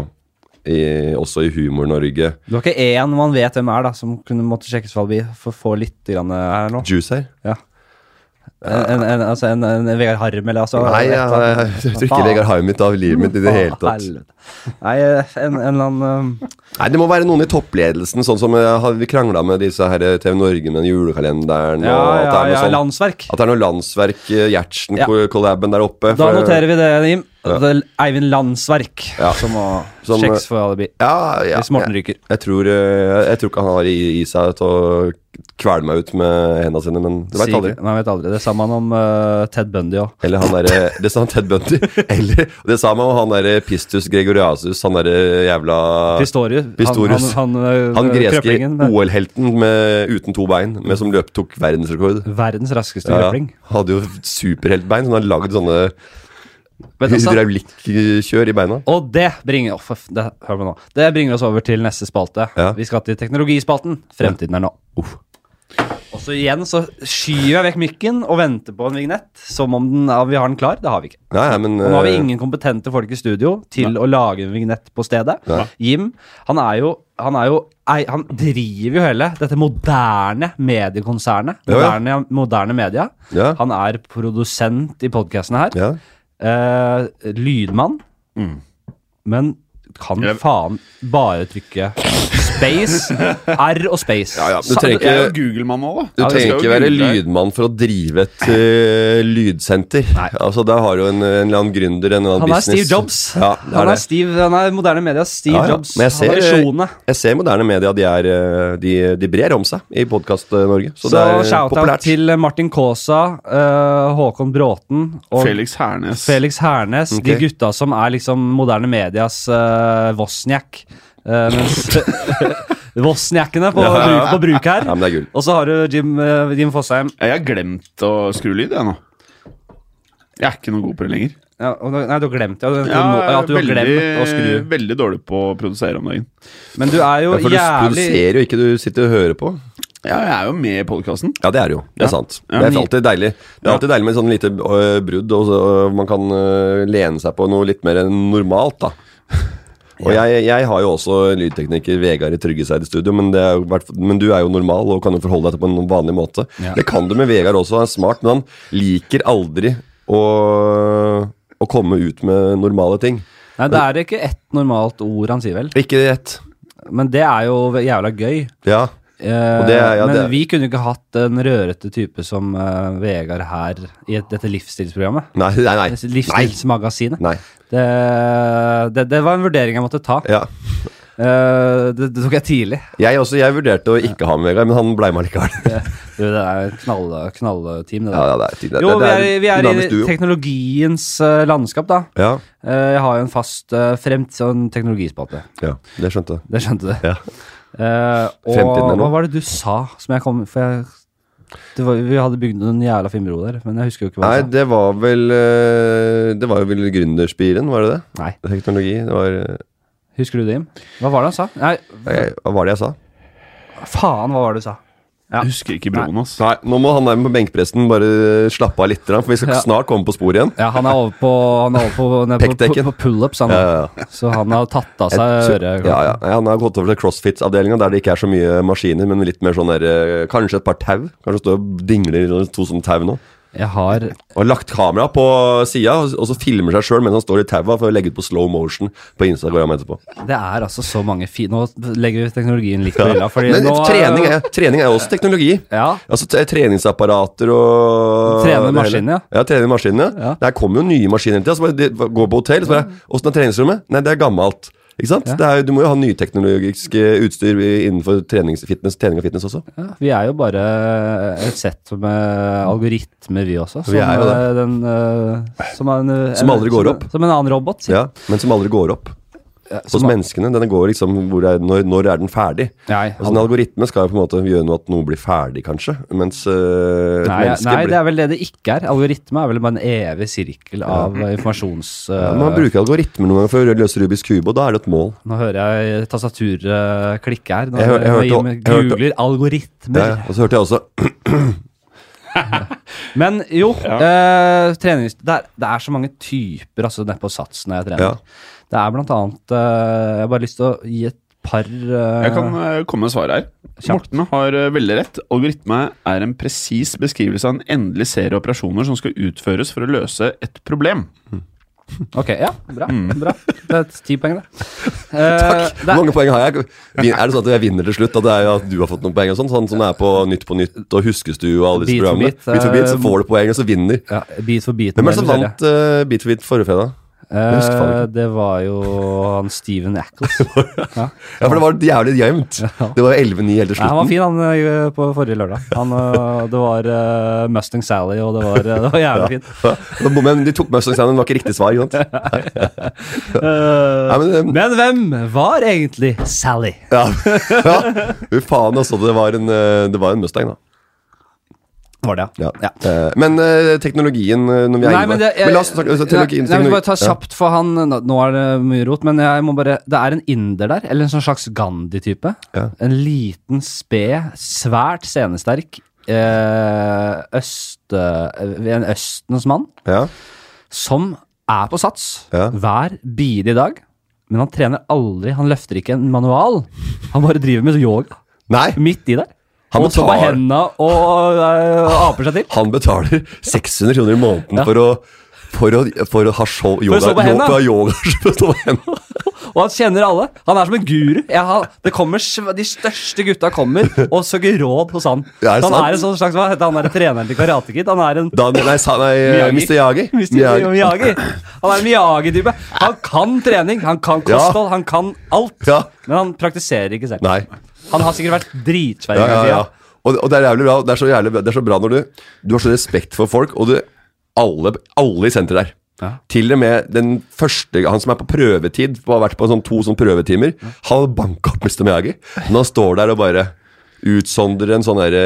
i, også i Humor-Norge.
Du har ikke én man vet hvem er, da, som kunne måtte sjekkes for alibi for å få litt grann øh, eh, her nå?
Juice her.
Ja. En, en, altså en, en Vegard Harm, eller altså
Nei, jeg, jeg, jeg tror ikke Vegard Harm mitt av livet mitt i det hele tatt.
Nei, eh, en, en eller annen um,
Nei, Det må være noen i toppledelsen, sånn som eh, har vi krangla med disse her eh, TV Norge med den julekalenderen.
Ja,
og
ja,
at, det
ja,
er noe sånn,
landsverk.
at det er noe landsverk, eh,
Ja.
Gjertsen-collaben der oppe.
Da
for-
noterer vi det, Jim.
Ja.
Det er Eivind Landsverk
Ja.
som må
Som, eh,
sjekkes for alibi
ja, ja,
hvis Morten
jeg,
ryker.
jeg, tror, eh, jeg tror ikke han har i, i seg til å kvele meg ut med hendene sine, men du veit
Sier-
aldri.
Nei, vet aldri. Det sa man om eh, Ted Bundy òg.
Eller
*laughs*
han derre Det sa han Ted Bundy. Eller og det sa man om han derre Pistus Gregoriasus, han derre jævla
Pistorius.
Pistorius.
Han, han, han,
Han
eh,
greske
krøplingen, men-
OL-helten med- uten to bein, men som løp tok verdensrekord.
Verdens raskeste
Ja,
krøpling.
hadde jo superheltbein, som hadde lagd sånne
Vet du, altså,
hydraulikkjør i beina.
og det bringer, Å, for f- det, hør meg nå. det bringer oss over til neste spalte.
Ja.
Vi skal til teknologispalten. Fremtiden er nå. Og så igjen så skyver jeg vekk mikken og venter på en vignett som om den, ja, vi har den klar. Det har vi ikke.
Nei, nei, men
Og nå har vi
eh,
ingen kompetente folk i studio til å lage en vignett på stedet.
Nei.
Jim, han er jo han, er jo, ei, han driver jo hele dette moderne mediekonsernet.
Ja, ja.
Moderne, moderne media.
Ja.
Han er produsent i podkasten her.
ja. Mm.
Eh, lydmann. Men kan
Jeg-
faen bare trykke
*laughs*
space, R og space.
Ja, ja, du
Sa-
trenger
Jeg er jo
ikke-
Google-mann nå, da.
Du
Jeg
trenger
skal
ikke
jo
være
google.
lydmann for å drive et eh, lydsenter. Altså, Der har du en, en eller annen gründer, en eller annen
han er Steve
business.
Jobs.
Ja, det er
han, er
det.
Steve, han er moderne medias Steve
Ja, ja.
Jobs.
Men jeg ser, eh,
han har visjonene.
jeg ser moderne media, de, er, eh, de, de brer om seg i Podkast-Norge. Så,
Så,
det er eh,
shout-out
populært.
til Martin Kaasa, eh, Håkon Bråten og Felix,
Felix Hernes.
Hernes. De
Ok.
gutta som er liksom moderne medias eh, Wozniak. Eh, mens *laughs* Wozniakene på,
Ja, ja, ja.
bruk- på bruk her.
Ja, men det er gull.
Og så har du Jim, eh, Jim Fosheim.
Jeg har glemt å skru lyd, jeg nå. Jeg er ikke noe god på det lenger.
Ja, og da- nei, du har glemt det. og du-
Jeg
nå-
er
at du har glemt å
veldig,
skru.
veldig dårlig på å produsere om dagen.
Men du er jo
Ja, for du
jævlig
produserer jo ikke, du sitter og hører på.
Ja, jeg er jo med i podkasten.
Ja, det er det jo. Det er
Ja.
sant.
Ja,
det er
men-
alltid deilig Det er alltid deilig med sånn lite øh, brudd, og så, øh, man kan øh, lene seg på noe litt mer enn normalt,
*laughs*
da. Og jeg, jeg har jo også lydtekniker Vegard i Tryggeseid i studio, men, det er jo, hvert fall- men du er jo normal og kan jo forholde deg til på en vanlig måte. Det kan du med Vegard også, han er smart, men han liker aldri å, å komme ut med normale ting.
Nei, det er ikke ett normalt ord han sier, vel.
Ikke ett.
Men det er jo jævla gøy.
Ja.
Eh,
Og det er- ja,
men
det er-
vi kunne ikke hatt en rørete type som eh, Vegard her i et, dette livsstilsprogrammet.
Nei, nei,
*laughs*
nei. Nei.
Livsstilsmagasinet.
nei.
Det, det, det var en vurdering jeg måtte ta.
Ja.
Eh, det, det tok jeg tidlig.
Jeg, også, jeg vurderte å ikke ha med Vegard, men han blei med likevel.
Du, det er et knall, knallteam, det der.
Ja, ja, det er, det,
Jo, vi
det
er, i- vi er i
dynamisk duo.
teknologiens eh, landskap, da.
Ja,
Eh, jeg har jo en fast eh, fremt, sånn teknologispalte.
ja, det skjønte jeg.
Det skjønte du.
Ja.
Eh, og
Fremtiden er nå.
hva var det du sa som jeg kom For jeg, det var, vi hadde bygd noen jævla finbro der, men jeg husker jo ikke hva
Nei,
jeg sa.
det var vel eh, Det var jo vel gründerspiren, var det det?
Nei.
Teknologi. Det var eh,
Husker du det, Jim? Hva var det han sa? Nei,
jeg- Hva var det jeg sa?
faen, hva var det du sa? Ja.
Jeg husker ikke broen, ass.
Nei, nå må han der med benkpresten bare slappe av litt, for vi skal
Ja.
snart komme på sporet igjen.
Ja, han er over på, han er over på, nede på,
Pekdekken.
på pullups, han.
Ja, ja, ja.
Så han har tatt av
Jeg
seg
tror-
øret.
ja, ja. Nei, Han har gått over til crossfit-avdelinga, der det ikke er så mye maskiner, men litt mer sånn der eh, Kanskje et par tau. Kanskje stå og dingler i to sånne tau nå.
Jeg har
Og har lagt kamera på sida, og så filmer seg sjøl mens han står i taua, for å legge ut på slow motion på Instagram etterpå.
Det er altså så mange fine Nå legger vi teknologien litt på hylla, fordi
Men
nå
trening er, trening er jo også teknologi.
Ja.
Altså t- treningsapparater og
Trene
det hele.
maskiner,
ja. trener maskiner.
Ja. Mm.
Der kommer jo nye maskiner hele tida. Så bare de- går på hotell, så bare Åssen er treningsrommet? Nei, det er gammelt. Ikke sant? Det er, jo- du må jo ha nyteknologisk eh, utstyr i- innenfor trenings, fitness, trening og fitness også.
Ja, vi er jo bare et sett med algoritmer, vi også. Som,
Vi er jo det.
eh, Den, eh, som, er en, eh,
Som aldri går
som,
opp.
Som en annen robot. sier
Ja, men som aldri går opp. Hos menneskene. Denne går liksom hvor er, når, når er den ferdig?
Nei,
altså, en algoritme skal jo på en måte gjøre noe at noe blir ferdig, kanskje. Mens øh,
Nei,
mennesket
nei, det
blir
er vel det det ikke er. Algoritme er vel bare en evig sirkel av eh, informasjons... eh,
Ja, Man bruker algoritmer noen ganger for å løse Rubiks kube, og da er det et mål.
nå hører jeg tastaturet klikke her. Nå,
Jeg hør- jeg hørte-
Jim
jeg hørte-
googler algoritmer.
Ja, ja. og så hørte jeg også
Men jo, eh, trenings, det, er, det er så mange typer altså, nede på sats når jeg trener.
Ja.
Det er blant annet eh, Jeg har bare lyst til å gi et par eh,
Jeg kan eh, komme med svaret her.
Kjapt.
Morten har eh, veldig rett. Algoritme er en presis beskrivelse av en endelig serie operasjoner som skal utføres for å løse et problem.
Ok, ja. Bra. bra. Det er ti poeng,
*laughs*
det.
*clears throat*
Eh, Takk.
Mm. Hvor mange poeng har jeg? Vin- Er det sånn at jeg vinner til slutt? At, det er at du har fått noen poeng? og sånn Sånn som er på Nytt på Nytt og Huskestue og alle disse
Bit for
programmene.
bit,
Bit for bit, så
eh,
får du poeng, og så vinner.
ja, bit for bit.
Hvem er
med
det som
den
vant eh, Bit for bit forrige fredag?
serien.
husker faen
Eh, det var jo han Steven
*laughs*
Ackles. ja.
Ja, for det var jævlig jevnt. Det var 11-9 helt til
Nei, han var
slutten.
fin han eh, på forrige lørdag. Han, eh, det var eh, Mustang Sally, og det var, eh, det var jævlig fint.
Ja, da bom- Men de tok Mustang-stjernen, det var ikke riktig svar.
*laughs*
ikke sant?
Eh,
Nei, men, eh,
men hvem var egentlig Sally?
ja. *laughs* ja. Fy faen, altså. Det var en, eh, det var en Mustang, da.
Var det,
Ja. Eh, Men eh, teknologien eh, når vi
Nei,
er inne på
men,
det.
det, jeg,
Men la oss snakke altså,
nei,
teknologien.
nei, men bare ta
teknologi-
kjapt, for han nå- Nå er det mye rot, men jeg må bare Det er en inder der, eller en sånn slags Gandhi-type.
Ja.
En liten, sped, svært scenesterk eh, øst... eh, En Østens mann
Ja.
som er på sats
Ja.
hver bidige dag. Men han trener aldri, han løfter ikke en manual. Han bare driver med yoga
Nei,
midt i der.
Han
og så på
betaler.
henda og eh, aper seg til.
han betaler 600 kroner i måneden
Ja.
for å for å, for å ha show,
å
yoga,
stå på hendene.
for å ha yoga *laughs* for å stå på hendene.
Og han kjenner alle. Han er som en guru. Jeg har, det kommer, sv- de største gutta kommer og søker råd hos han.
Ja, er det
han
sant?
er en sånn slags, hva heter han der treneren til Karate Kid? Han er en *laughs*
Da, nei, sa, nei eh,
Miyagi.
Mr. Yagi.
Mr. Miyagi. Han er en Miyagi-type. Han kan trening, han kan kosthold, han kan alt.
Ja.
Men han praktiserer ikke selv.
Nei.
Han har sikkert vært dritsvær.
Ja,
en
ja,
gang i
ja.
tida.
Og, og det er jævlig bra. Det er så, jævlig, det er så bra når du Du har så respekt for folk, og du Alle, alle i senteret der.
Ja.
Til og med den første Han som er på prøvetid, og har vært på sånn to sånn prøvetimer, han har banka opp Mr. Miyagi. Men han står der og bare utsondrer en sånn derre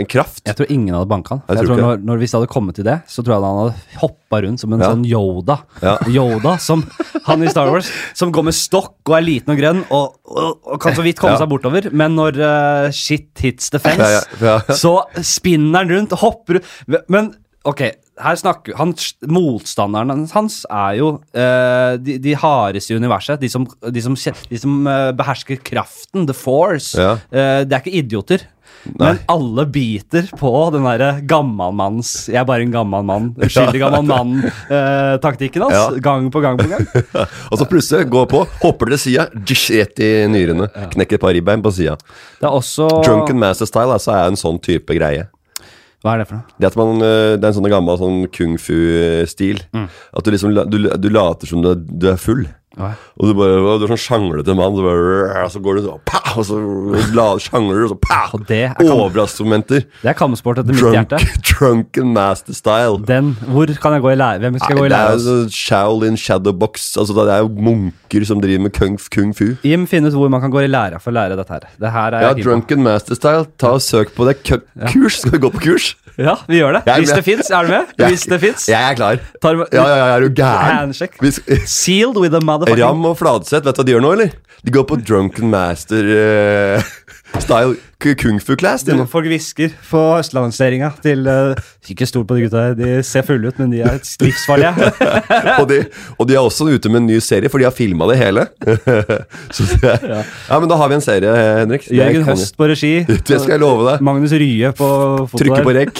En kraft.
Jeg tror ingen hadde banka han.
Jeg
Jeg
tror
tror
ikke
når, når Hvis det hadde kommet til det, så tror jeg han hadde hoppa rundt som en
Ja.
sånn Yoda.
Ja.
Yoda som han i Star Wars, som går med stokk og er liten og grønn og, og, og kan så vidt komme
Ja.
seg bortover. Men når eh, shit hits the fence,
Ja, ja, ja.
så spinner han rundt og hopper rundt. Men ok, her snakker han, Motstanderen hans er jo eh, de, de hardeste i universet. De som, de som, kje- de som eh, behersker kraften, the force.
Ja.
Eh, det er ikke idioter. Men alle biter på den derre gammalmanns 'jeg er bare en gammal
*laughs*
mann', uskyldig gammal mann-taktikken hans.
Ja.
Gang på gang på gang.
Og så plutselig går på, hopper til sida, rett i nyrene. Knekker et par ribbein på sida.
Det er også
Drunken master style altså, er en sånn type greie.
Hva er det for noe?
Det, at man, øh, det er en sånn gammel sånn kung fu-stil.
Mm.
At du liksom la- du, du later som du er, du er full.
Ja.
Og du, bare, og du er sånn sjanglete mann, så, bare, og så går du sånn pa, Og så la, sjangler du, og så pa!
Og det er kam-
Overraskelsesmomenter.
Det er kampsport etter mitt
Oh. Drunk,
hjerte.
drunken master style.
Den, hvor kan jeg gå i lære? Hvem skal jeg gå i
det
lære
er jo
hos?
sånn Shaolin Shadowbox. Altså, det er jo munker som driver med kung, kung fu.
Jim, finn ut hvor man kan gå i lære for å lære dette her. Det her er
Ja,
jeg keen på.
Drunken Master Style. Ta og Søk på det. Kø kurs! Skal vi gå på kurs?
Ja, vi gjør det.
Jeg er
Hvis
med.
det fins, er du med?
Jeg-
Hvis det fins.
Jeg er klar.
Tar du-
Ja, ja, ja, er du gæren?
Handshake.
Vi sk-
Sealed with a motherfucking
Ram og Fladseth, vet du hva de gjør nå, eller? De går på Drunken Master eh, *laughs* Style k- kung fu class.
*laughs*
De, nå.
Folk hvisker på østlandseringa til eh, Ikke stol på de gutta her, de ser fulle ut, men de er
*laughs*
livsfarlige.
og, de, og de er også ute med en ny serie, for de har filma det hele. *laughs* Så det, ja. men da har vi en serie, Henrik. Det
Jørgen
kan-
Høst på regi.
Det skal jeg love deg.
Magnus Rye på foto
Trykke på
der.
rekk.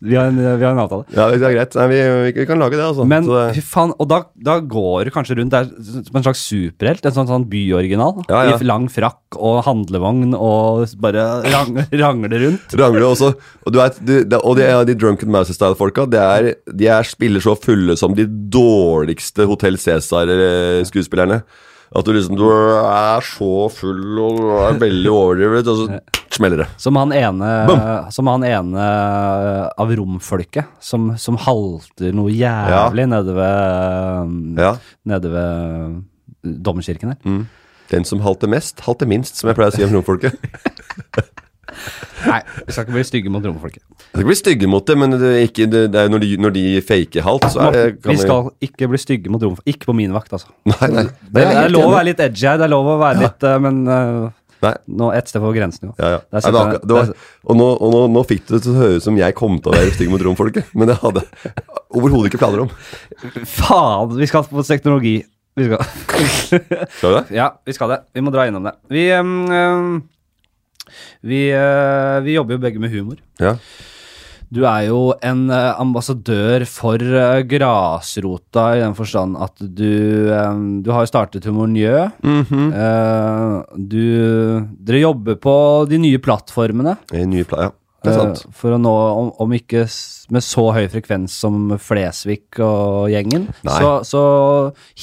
Vi har en, vi har en avtale.
Ja, det er greit. Nei, vi, vi kan lage det, altså.
Men
Så det-
fy faen, og da, da går du kanskje rundt der som en slags superhelt. En sånn, sånn byoriginal.
Ja, ja.
I lang frakk og handlevogn og bare rang, *laughs* rangler rundt.
Rangler også. Og, du vet, du, det, og de, de Drunken Mouse-style-folka det er, de er spiller så fulle som de dårligste Hotell Cæsar-skuespillerne. At du liksom Du er så full og du er veldig overdrevet, og så smeller det.
Som han ene, som han ene eh, av romfolket som, som halter noe jævlig nede ved eh,
Ja.
Nede ved eh, domkirken her.
Mm. Den som halter mest, halter minst, som jeg pleier å si om romfolket.
Nei, vi skal ikke bli stygge mot romfolket.
Jeg skal ikke bli stygge mot det, men det er ikke, det, det er når, de, når de faker halt, så er det
Morten,
kan
vi
det-
skal ikke bli stygge mot romfolket. Ikke på min vakt, altså.
Nei, nei.
Det,
Nei, jeg
det
helt
er lov å
enig.
være litt edgy her, det er lov å være litt eh, Men eh,
Nei.
nå ett sted på grensen, jo.
Ja,
Der
ja. Nei, det var,
sitter
akkurat- det var,
der-
og nå, og nå, nå fikk det til å høres ut som jeg kom til å være stygg mot romfolket, men det hadde jeg overhodet ikke planer om.
Faen, vi skal på teknologi. Vi
*laughs*
skal.
Skal vi det?
ja, vi skal det. Vi må dra innom det. Vi, em, em, vi, eh, vi jobber jo begge med humor.
Ja.
Du er jo en eh, ambassadør for eh, grasrota i den forstand at du, eh, du har jo startet Humor Njø. Mhm. Eh, du, dere jobber på de nye plattformene
I Eh, nye pla- ja. Det er sant.
eh, for å nå, om, om ikke s- med så høy frekvens som Flesvig og gjengen,
Nei.
så, så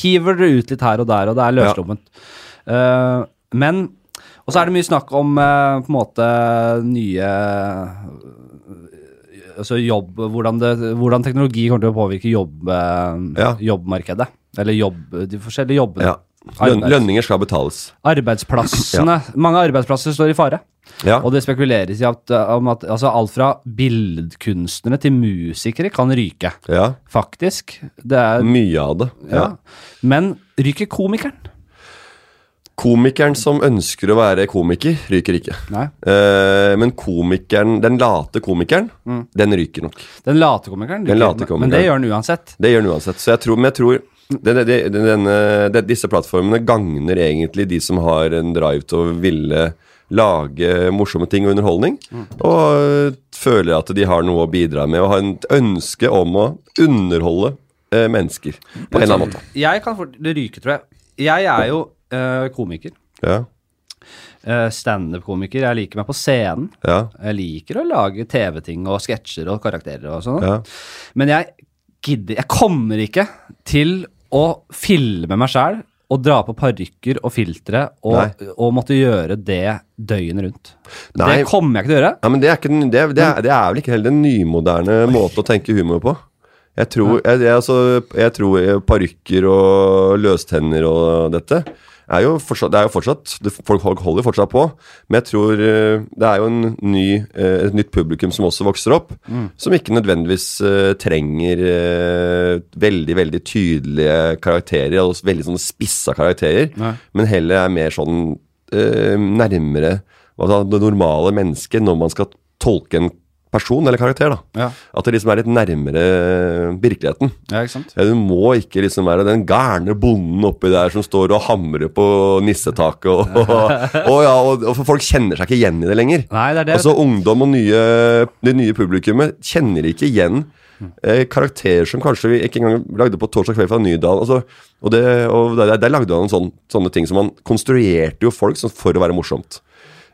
hiver dere ut litt her og der, og det er løslomment. Eh, men Og så er det mye snakk om eh, på en måte nye altså jobb, hvordan, det, hvordan teknologi kommer til å påvirke jobb, eh,
Ja.
jobbmarkedet. Eller jobb, de forskjellige jobbene.
Ja. Løn,
Arbeids-
lønninger skal betales.
Arbeidsplassene. Mange arbeidsplasser står i fare.
Ja.
Og det spekuleres i at, eh, om at altså alt fra billedkunstnere til musikere kan ryke.
ja.
Faktisk. Det er
Mye av det.
ja.
Mm, Ja.
Men ryker komikeren?
Komikeren som ønsker å være komiker, ryker ikke.
Nei.
Eh, men komikeren, den late komikeren, den ryker nok.
Den late komikeren.
Den
ryker,
late
Men
komikeren.
det gjør den uansett.
Det gjør den uansett. Så jeg tror, men jeg tror det, det, det, denne, det, disse plattformene gagner egentlig de som har en drive til å ville lage morsomme ting og underholdning. Og øh, føler at de har noe å bidra med, og har en ønske om å underholde eh, mennesker. På en eller annen måte.
Jeg kan fort det ryker, tror jeg. Jeg er jo eh, komiker.
Ja,
Eh, Standup-komiker. Jeg liker meg på scenen.
ja,
Jeg liker å lage TV-ting og sketsjer og karakterer og sånn.
ja.
Men jeg gidder Jeg kommer ikke til å filme meg sjæl og dra på parykker og filtre og, og måtte gjøre det døgnet rundt.
Nei.
Det kommer jeg ikke til å gjøre.
Ja, men det er, ikke, den- det, er- det, er, det er vel ikke heller den nymoderne måten å tenke humor på. Jeg tror, jeg, jeg, altså, jeg tror parykker og løstenner og dette er jo fortsatt, det er jo fortsatt det, Folk hol- holder jo fortsatt på, men jeg tror eh, det er jo en ny, eh, et nytt publikum som også vokser opp, som ikke nødvendigvis eh, trenger eh, veldig veldig tydelige karakterer, og veldig sånn spissa karakterer,
Nei.
men heller er mer sånn eh, nærmere hva da, det normale mennesket når man skal tolke en person eller karakter. da.
Ja.
At det liksom er litt nærmere virkeligheten.
Ja, ikke sant?
Ja, du må ikke liksom være den gærne bonden oppi der som står og hamrer på nissetaket. Og,
*laughs*
og, og, ja, og, og folk kjenner seg ikke igjen i det lenger.
Nei, det er det.
Altså Ungdom og nye, det nye publikummet kjenner ikke igjen eh, karakterer som kanskje vi ikke engang lagde på Torsdag kveld fra Nydalen. Altså, og det, og der, der lagde han sånn, sånne ting som han konstruerte jo folk sånn for å være morsomt.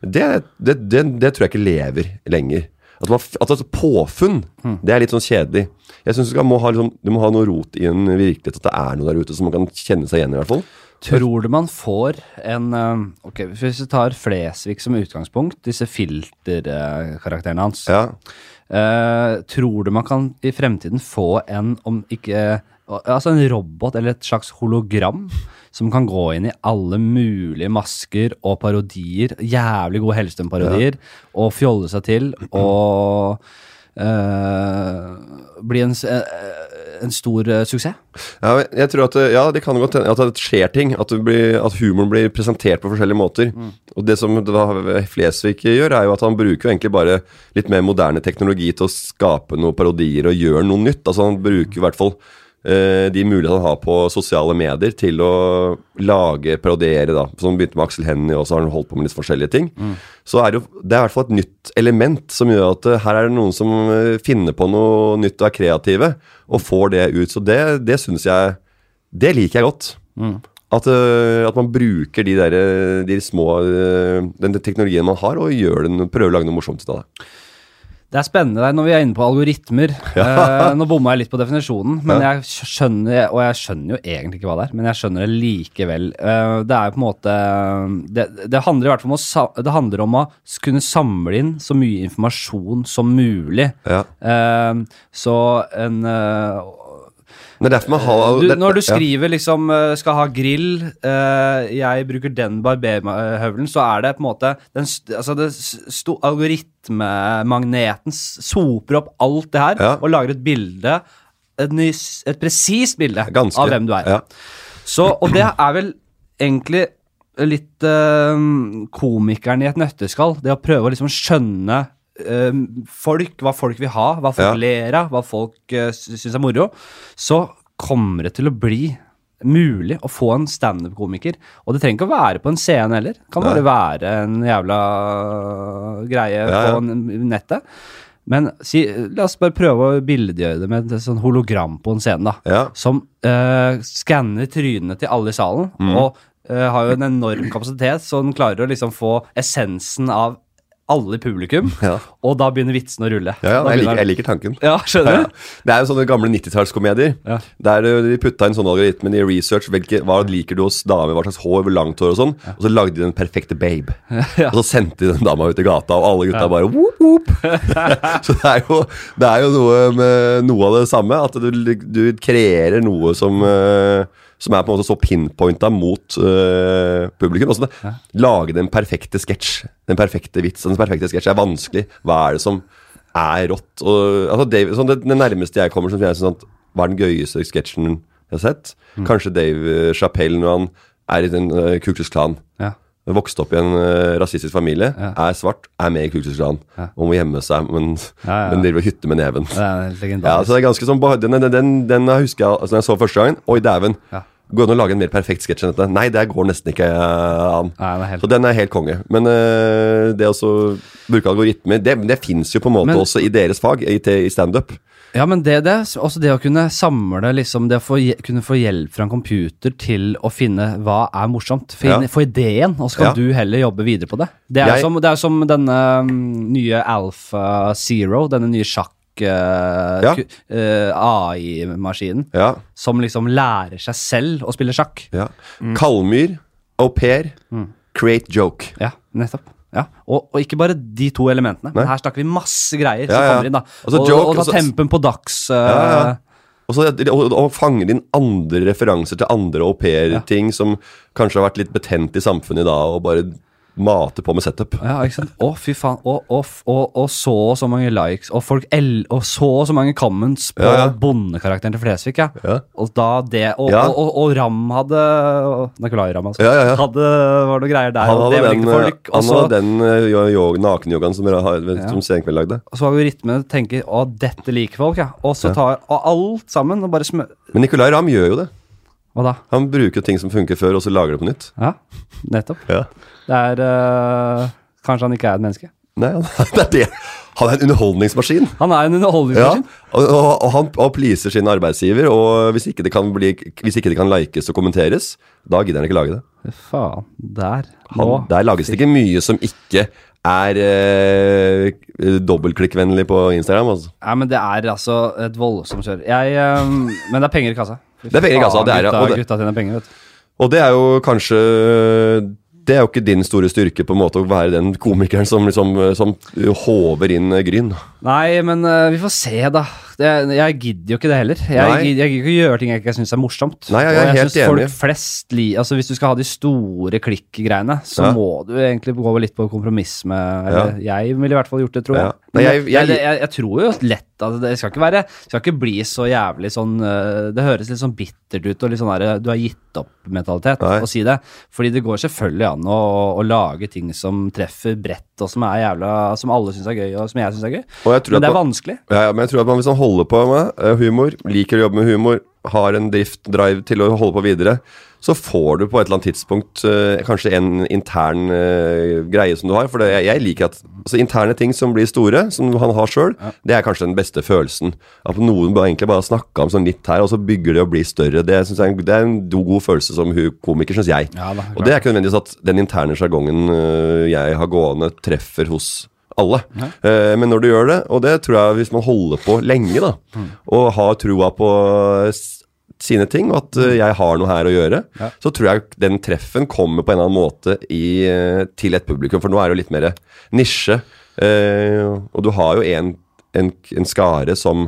Det, det, det, det tror jeg ikke lever lenger. At, man, f- at altså, påfunn, det er litt sånn kjedelig. Jeg synes du, skal- må ha liksom, du må ha noe rot i en virkelighet, at det er noe der ute som man kan kjenne seg igjen i, hvert fall.
Tror du man får en eh, Ok, hvis vi tar Flesvig som utgangspunkt, disse filterkarakterene hans.
Ja.
Eh, tror du man kan i fremtiden få en om ikke eh, Altså en robot eller et slags hologram som kan gå inn i alle mulige masker og parodier, jævlig gode Hellstrøm-parodier, og fjolle seg til og eh, bli en, s- eh, en stor eh, suksess?
Ja, men jeg tror at eh, ja, det kan godt hende at det skjer ting. At, det blir, at humoren blir presentert på forskjellige måter. Og det som da Flesvig gjør, er jo at han bruker jo egentlig bare litt mer moderne teknologi til å skape noen parodier og gjøre noe nytt. Altså Han bruker i hvert fall eh, de mulighetene han har på sosiale medier til å lage, parodiere, da. Så han begynte med Aksel Hennie, og så har han holdt på med litt forskjellige ting. Så er det, jo, det er i hvert fall et nytt element som gjør at eh, her er det noen som eh, finner på noe nytt og er kreative, og får det ut. Så det, det syns jeg Det liker jeg godt.
Mm.
At, eh, at man bruker de, der, eh, de små eh, Den teknologien man har, og gjør den, prøver å lage noe morsomt ut av det.
Det er spennende der når vi er inne på
*laughs*
algoritmer. Eh, nå bomma jeg litt på definisjonen, men
Ja.
jeg skjønner og jeg skjønner jo egentlig ikke hva det er, men jeg skjønner det likevel. Eh, det er jo på en måte det, det handler i hvert fall om å, sa- det handler om å s- kunne samle inn så mye informasjon som mulig.
Ja.
Eh, så en eh,
Men det er derfor man har
du,
det-
når du
ja.
skriver liksom eh, skal ha grill, eh, jeg bruker den barberhøvelen, så er det på en måte den, st- altså det s- sto, Algoritmemagneten s- soper opp alt det her
Ja.
og lager et bilde, et, nys- et presist bilde
Ganske.
av hvem du er.
Ja.
Så, og det er vel egentlig litt eh, komikeren i et nøtteskall. Det å prøve å liksom skjønne eh, folk, hva folk vil ha, hva folk eh,
Ja.
ler av, hva folk uh, syns er moro. Så kommer det til å bli mulig å få en standup-komiker. Og det trenger ikke å være på en scene heller. Det kan bare være en jævla greie
Ja, ja.
på n- nettet. Men si, la oss bare prøve å billedgjøre det med et sånn hologram på en scene, da.
Ja.
Som eh, skanner trynene til alle i salen,
Mm.
og eh, har jo en enorm kapasitet, så den klarer å liksom få essensen av alle i publikum,
Ja.
og da begynner vitsen å rulle.
Ja, ja,
Da
jeg,
begynner
liker, jeg
den-
liker tanken.
Ja, skjønner du?
Det er jo sånne gamle 90-tallskomedier.
Ja.
Der eh, de putta inn sånne algoritmer i research. Hvilke, hva liker du hos damer, hva slags hår, hvor langt hår og sånn. Og så lagde de den perfekte babe. Og så sendte de den dama ut i gata, og alle gutta bare whoop, whoop. *laughs* så det er jo, det er jo noe, med, noe av det samme. At du, du kreerer noe som eh, som er på en måte så pinpointa mot eh, publikum. Også, det- Lage den perfekte sketsj. Den perfekte vits. Den perfekte sketsj er vanskelig. Hva er det som er rått. Og, altså Dave, sånn, det, det nærmeste jeg kommer som jeg synes at Hva er den gøyeste sketsjen jeg har sett? Kanskje Dave eh, Chappelle når han er i den uh, Kuklus Klan.
Ja.
Vokste opp i en eh, rasistisk familie, er svart, er med i Kuklus Klan. Og må gjemme seg, men,
Ja, ja, ja.
men driver og hytter med neven.
Det er legendarisk.
Ja, så det er ganske sånn ba- Den, den, den, den jeg husker jeg altså, når jeg så første gangen. Oi, dæven.
Ja.
Går det an å lage en mer perfekt sketsj enn dette? Nei, det går nesten ikke eh, an.
Nei, det er helt-
Så den er helt konge. Men eh, det å så bruke algoritmer, det, det fins jo på en måte
Men-
også i deres fag, i, i standup.
Ja, men det, det, også det å kunne samle, liksom, det å få, hje- kunne få hjelp fra en computer til å finne hva er morsomt.
Ja.
Finne, Få ideen, og så kan
Ja.
du heller jobbe videre på det. Det er,
Jeg-
jo som, det er jo som denne mm, nye Alpha Zero, denne nye sjakk eh,
Ja.
ku- eh, AI-maskinen,
Ja,
som liksom lærer seg selv å spille sjakk.
ja.
Mm.
Kalmyr, au pair, create joke.
Ja, nettopp. Ja. Og, og ikke bare de to elementene. Men her snakker vi masse greier som
Ja, ja.
kommer inn. da.
Altså,
og,
joke,
og ta
altså-
tempen på dags. eh,
ja. Og, så, og, og fanger inn andre referanser til andre au pair-ting som kanskje har vært litt betent i samfunnet i dag, og bare mater på med setup.
Ja, ikke sant? Å, fy faen. Og, og, og, og så og så mange likes, og, folk el og så og så mange comments på
Ja, ja.
bondekarakteren til Flesvig. Ja.
Ja.
Og da det Og,
Ja.
og, og, og Ram hadde og- Nicolai Ram, altså.
Ja, ja, ja.
Hadde, var det noe greier der.
Han
og
hadde
det var
den,
ikke folk,
han
og så,
hadde den eh, jo- jo- nakenyogaen som, ja. som Senkveld lagde.
og så har vi rytmen og tenker å, dette liker folk, ja. Og så tar og alt sammen og bare smø...
Men Nicolay Ramm gjør jo det.
Hva da?
Han bruker ting som funker før, og så lager det på nytt.
Ja, nettopp.
Ja.
Det er eh, Kanskje han ikke er et menneske.
Nei, han, *laughs* det er det. han er en underholdningsmaskin.
Han er en
Ja,
underholdningsmaskin.
og, og, og han og pleaser sin arbeidsgiver, og hvis ikke, det kan bli, hvis ikke det kan likes og kommenteres, da gidder han ikke lage det.
Fy Faen. Der.
Han,
Nå.
der lages det ikke mye som ikke er eh, dobbeltklikkvennlig på Instagram. Altså.
Ja, men det er altså et voldsomt kjør. Jeg, eh, men det er penger i kassa.
Det er penger i kassa, det er det,
gutta,
og det-
gutta tjener penger, vet du.
Og det er jo kanskje Det er jo ikke din store styrke på en måte å være den komikeren som, liksom, som håver inn eh, gryn.
Nei, men eh, vi får se, da. Det, jeg gidder jo ikke det heller. Jeg,
Nei.
gidder, jeg gidder ikke gjøre ting jeg ikke syns er morsomt.
Nei, jeg er
Og
helt
synes
enig.
Folk flest li, altså Hvis du skal ha de store klikk-greiene, så
Ja.
må du egentlig gå litt på kompromiss med Eller jeg ville i hvert fall gjort det, tror jeg.
Ja. Nei, jeg-
Men
jeg-
det- jeg, jeg tror jo lett at det skal ikke være Det skal ikke bli så jævlig sånn eh, Det høres litt sånn bittert ut og litt sånn der du har gitt opp-mentalitet
Nei.
å si det. Fordi det går selvfølgelig an å, å lage ting som treffer bredt, og som er jævla Som alle syns er gøy, og som jeg syns er gøy.
Og jeg tror at
Men det er
man-
vanskelig.
Ja, ja, men jeg tror at man hvis man holder på med eh, humor, liker å jobbe med humor, har en drift, drive til å holde på videre, så får du på et eller annet tidspunkt eh, kanskje en intern eh, greie som du har. For det, jeg, jeg liker at altså, interne ting som blir store, som han har sjøl, det er kanskje den beste følelsen. At noen bare, egentlig bare har snakka om sånn litt her, og så bygger det og blir større. Det, synes jeg, er en- det er en do- god følelse som hu- komiker, syns jeg.
Ja da, klart.
og det er ikke nødvendigvis at den interne sjargongen øh, jeg har gående, treffer hos alle. Eh, men når du gjør det, og det tror jeg hvis man holder på lenge, da, og har trua på eh, s- sine ting, og at øh, jeg har noe her å gjøre, så tror jeg den treffen kommer på en eller annen måte i, eh, til et publikum. For nå er det jo litt mer nisje, eh, og du har jo en, en, en skare som,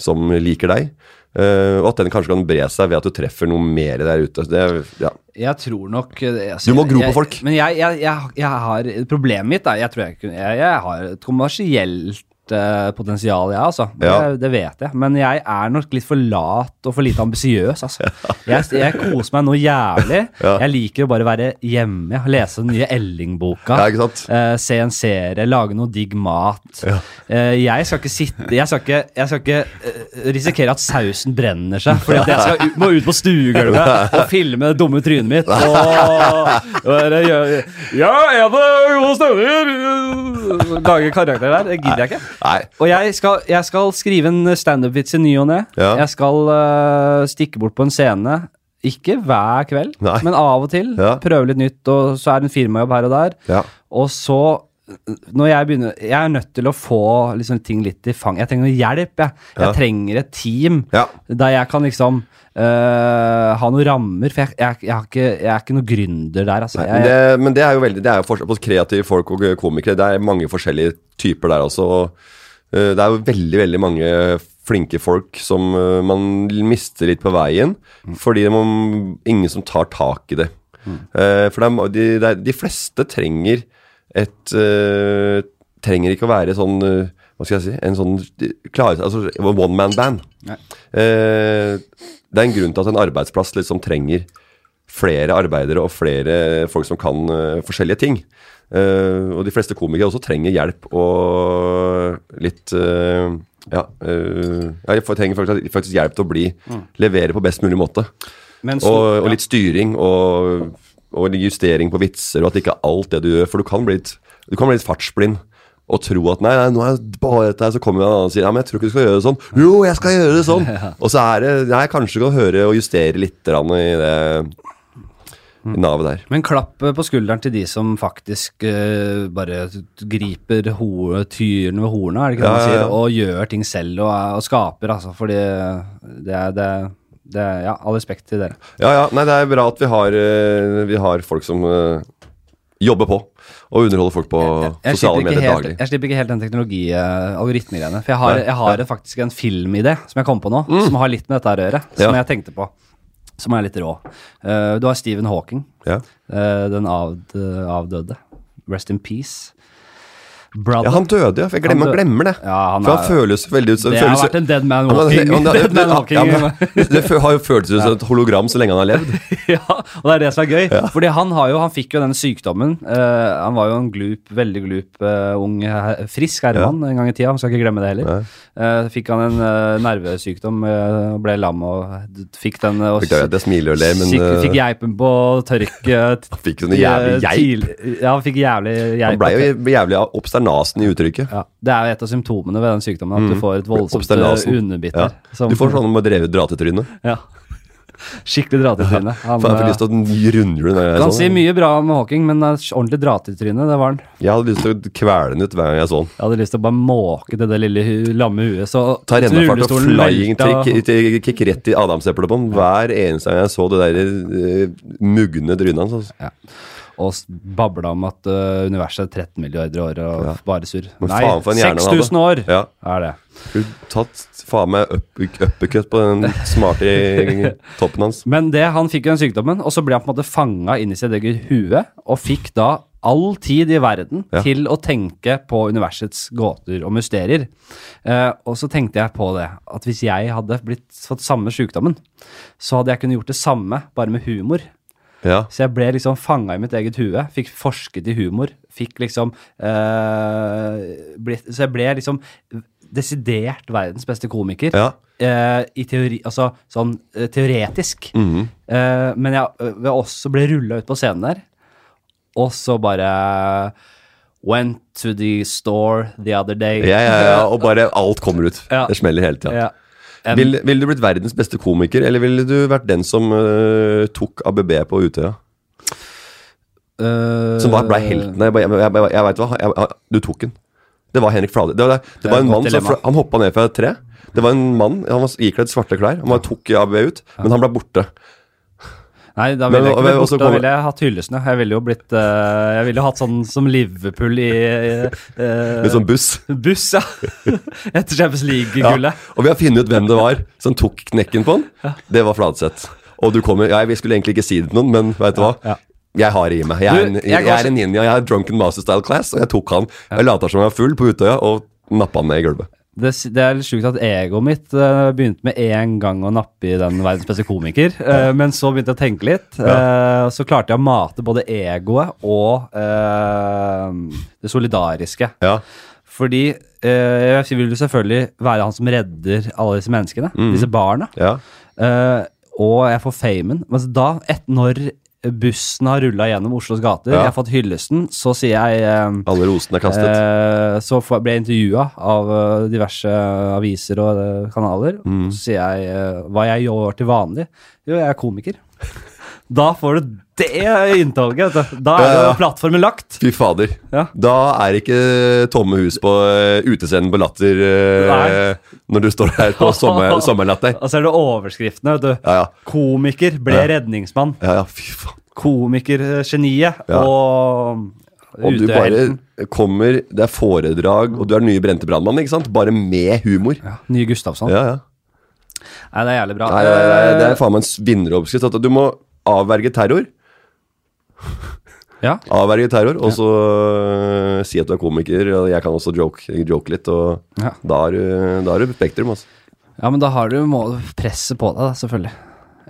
som liker deg. eh, og at den kanskje kan bre seg ved at du treffer noe mer der ute. Det, ja.
Jeg tror nok eh, altså,
Du må gro på
jeg-
folk.
Men jeg, jeg, jeg, jeg har Problemet mitt er Jeg tror jeg kunne jeg, jeg har et kommersielt største potensialet jeg har, altså.
Ja.
Det, det vet jeg. Men jeg er nok litt for lat og for lite ambisiøs,
*laughs*
altså. Jeg, jeg koser meg noe jævlig.
Ja.
Jeg liker å bare være hjemme, lese den nye Elling-boka.
Ja, ikke sant?
Eh, se en serie, lage noe digg mat. Eh, jeg skal ikke sitte Jeg skal ikke, jeg skal ikke eh, risikere at sausen brenner seg, fordi at jeg skal ut, må ut på stuegulvet og filme det dumme trynet mitt. Og, og bare gjøre- ja, er det gode stemninger? Lage karakter der. Det gidder jeg ikke.
Nei.
Og jeg skal, jeg skal skrive en standup-vits i ny og ne.
Ja.
Jeg skal eh, stikke bort på en scene. Ikke hver kveld,
Nei.
men av og til.
Ja.
Prøve litt nytt, og så er det en firmajobb her og der.
Ja.
Og så når jeg begynner Jeg er nødt til å få liksom, ting litt i fang. Jeg trenger noe hjelp. Jeg, jeg
Ja.
trenger et team
Ja.
der jeg kan liksom øh, ha noen rammer. For jeg, jeg, jeg, har ikke, jeg er ikke noen gründer der, altså.
Men
Jeg,
det, men det er jo veldig Det er jo forskjell på kreative folk og komikere. Det er mange forskjellige typer der også. Og, eh, det er jo veldig, veldig mange flinke folk som eh, man mister litt på veien. Fordi det må, ingen som tar tak i det. Eh, for det er, ma- de, det er, de fleste trenger et eh, Trenger ikke å være sånn eh, Hva skal jeg si En sånn de- klare, altså, One man band. Eh, det er en grunn til at en arbeidsplass liksom trenger flere arbeidere og flere folk som kan eh, forskjellige ting. Eh, og de fleste komikere også trenger hjelp og litt eh, ja, eh, ja, de trenger faktisk, faktisk hjelp til å bli levere på best mulig måte.
men så,
Og, og litt styring og, og litt justering på vitser, og at ikke alt det du gjør For du kan bli litt, du kan bli litt fartsblind og tro at nei, nei, nå er det bare dette her, så kommer en annen og sier ja, men jeg tror ikke du skal gjøre det sånn. Jo, jeg skal gjøre det
*laughs*
sånn! Og så er det Nei, kanskje du kan høre og justere litt grann i det
Mm.
i navet der.
men klapp øh, på skulderen til de som faktisk øh, bare griper ho tyren ved hornet, er det ikke det
Ja,
man
ja,
sier?
ja.
Og gjør ting selv og, er- og skaper, altså. Fordi det er det, det er- Ja, all respekt til dere.
Ja, ja, nei, det er bra at vi har, eh, vi har folk som eh, jobber på og underholder folk på
jeg slipper,
sosiale
ikke
medier
helt,
daglig.
jeg slipper ikke helt den teknologi-algoritmegreiene. For jeg har,
Nei, Mm.
jeg har faktisk en filmidé som jeg kom på nå, som har litt med dette her å gjøre. Som
Ja.
jeg tenkte på. Som er litt rå. Eh, du har Stephen Hawking.
Ja.
eh, den avd, avdøde. Rest in peace. Brother.
ja, han døde, ja. for Jeg glemmer,
Han dø-
glemmer det.
Ja, han
for
er-
han føles veldig ut som
det har
føles-
vært en dead man
Ja, men-
walking.
ja, men-
dead man
ja,
walking.
men- Det fø- har jo føltes ut som et hologram så lenge han har levd.
*laughs* Ja, og det er det som er gøy. Fordi han, har jo, han fikk jo den sykdommen. Eh, han var jo en glup, veldig glup eh, ung, her- frisk herremann en gang i tida. Man skal ikke glemme det heller. Eh, fikk han en eh, nervesykdom, eh, og ble lam og d- fikk den eh, og
Fikk det, det smiler og ler, men
Fikk,
eh,
fikk geipen på tørk. eh, t-
*laughs* Fikk sånne jævlig
eh,
geip.
tidlig- Ja, han fikk jævlig geip.
han ble jo jævlig obsternasen i uttrykket.
ja, Det er jo et av symptomene ved den sykdommen, at du får et voldsomt eh,
Obsternasen.
underbitt
Mm. Ja.
der. som-
Du får sånn med drevet dratetryne.
ja. Skikkelig dratetryne. Han,
Jeg fikk
eh,
lyst til å sånn, rundhjule den. der
kan
jeg
si
så den.
mye bra om Hawking, men eh, ordentlig dratetryne, det var han.
Jeg hadde lyst til å kvele den ut hver gang jeg så den.
Jeg hadde lyst til å bare måke til det lille hu- lamme huet. Så
Ta rennefart og
rullestolen
flying
velta-
trick i- i- kick rett i adamseplet på den hver eneste gang jeg så det der eh, mugne trynet hans. Altså.
Ja. Og s- babla om at ø, universet er 13 milliarder år og bare surr.
Men
Nei,
faen for en hjerne han hadde.
6000 år
Ja.
er det.
Skulle tatt faen meg up- uppercut på den smarte toppen hans.
Men det, han fikk jo den sykdommen, og så ble han på en måte fanga inni sitt eget hue, og fikk da all tid i verden
Ja.
til å tenke på universets gåter og mysterier. Eh, og så tenkte jeg på det, at hvis jeg hadde blitt, fått samme sykdommen, så hadde jeg kunnet gjort det samme, bare med humor.
Ja.
Så jeg ble liksom fanga i mitt eget hue. Fikk forsket i humor. Fikk liksom eh, blitt, Så jeg ble liksom desidert verdens beste komiker.
Ja.
Eh, I teori Altså sånn eh, teoretisk.
Mhm.
Eh, men jeg, jeg også ble rulla ut på scenen der, og så bare Went to the store the other day.
Ja, ja, ja, og bare alt kommer ut.
Ja.
Det smeller hele tida.
Ja. En-
Ville vil du blitt verdens beste komiker, eller ville du vært den som øh, tok ABB på Utøya?
eh,
Som var, ble helten der. Jeg, bare- jeg, jeg, jeg, jeg vet hva, jeg, jeg, du tok den. Det var Henrik Flade. Det var, det,
er
det var
et
en
godt
mann som
dilemma.
fla- Han hoppa ned fra et tre. Det var en mann, Han var ikledd svarte klær. Han bare tok ABB ut, men han ble borte.
Nei, da ville
Men-
jeg ikke
og-
blitt
og så
borte. Da
kommer-
ville jeg hatt hyllestene. Jeg ville jo blitt eh, Jeg ville jo hatt sånn som Liverpool i eh,
Med sånn buss.
buss, ja. *laughs* Etter Champions
Ja.
League-gullet.
Og vi har funnet ut hvem det var som tok knekken på han. Det var Fladseth. Og du kommer Jeg skulle egentlig ikke si det til noen, men veit du hva?
ja.
Jeg har det i meg. Jeg er,
Du,
en,
jeg
jeg
kan-
er en ninja. Jeg er drunken master style class, og jeg tok han. Jeg later som jeg var full på Utøya og nappa han ned i gulvet.
Det, s- det er litt sjukt at egoet mitt eh, begynte med en gang å nappe i den verdens beste komiker, eh, men så begynte jeg å tenke litt. eh, og så klarte jeg å mate både egoet og eh, det solidariske.
Ja.
Fordi eh, jeg vil jo selvfølgelig være han som redder alle disse menneskene,
Mm.
disse barna.
ja.
Eh, og jeg får famen. Men så da, et, når bussen har rulla gjennom Oslos gater,
Ja.
jeg har fått hyllesten, så sier jeg eh,
Alle rosene er kastet.
Eh, så får- ble jeg intervjua av eh, diverse aviser og eh, kanaler.
Mm.
Så sier jeg eh, hva jeg gjør til vanlig. Jo, jeg er komiker. *laughs* Da får du det inntoget. vet du. Da er
Ja, ja.
jo plattformen lagt.
Fy fader.
Ja.
Da er det ikke tomme hus på eh, utescenen på Latter eh, når du står her på sommer, sommerlatter.
Og så er det overskriftene. vet du.
Ja, ja.
Komiker ble
Ja.
redningsmann.
Ja, ja, fy faen.
Komikergeniet
Ja.
og
Og du
Utøya-helten.
bare kommer, det er foredrag, og du er den nye brente brannmann, ikke sant? Bare med humor. Ja,
Nye Gustavsson.
ja.
Nei, det er jævlig bra.
Nei, nei, nei, det er faen meg en vinneroppskrift. At du må avverge terror,
ja.
avverge terror, og så eh, si at du er komiker, og jeg kan også joke, joke litt, og
Ja.
da er du- da er du Spektrum, altså.
Ja, men da har du må, presset på deg, da, selvfølgelig.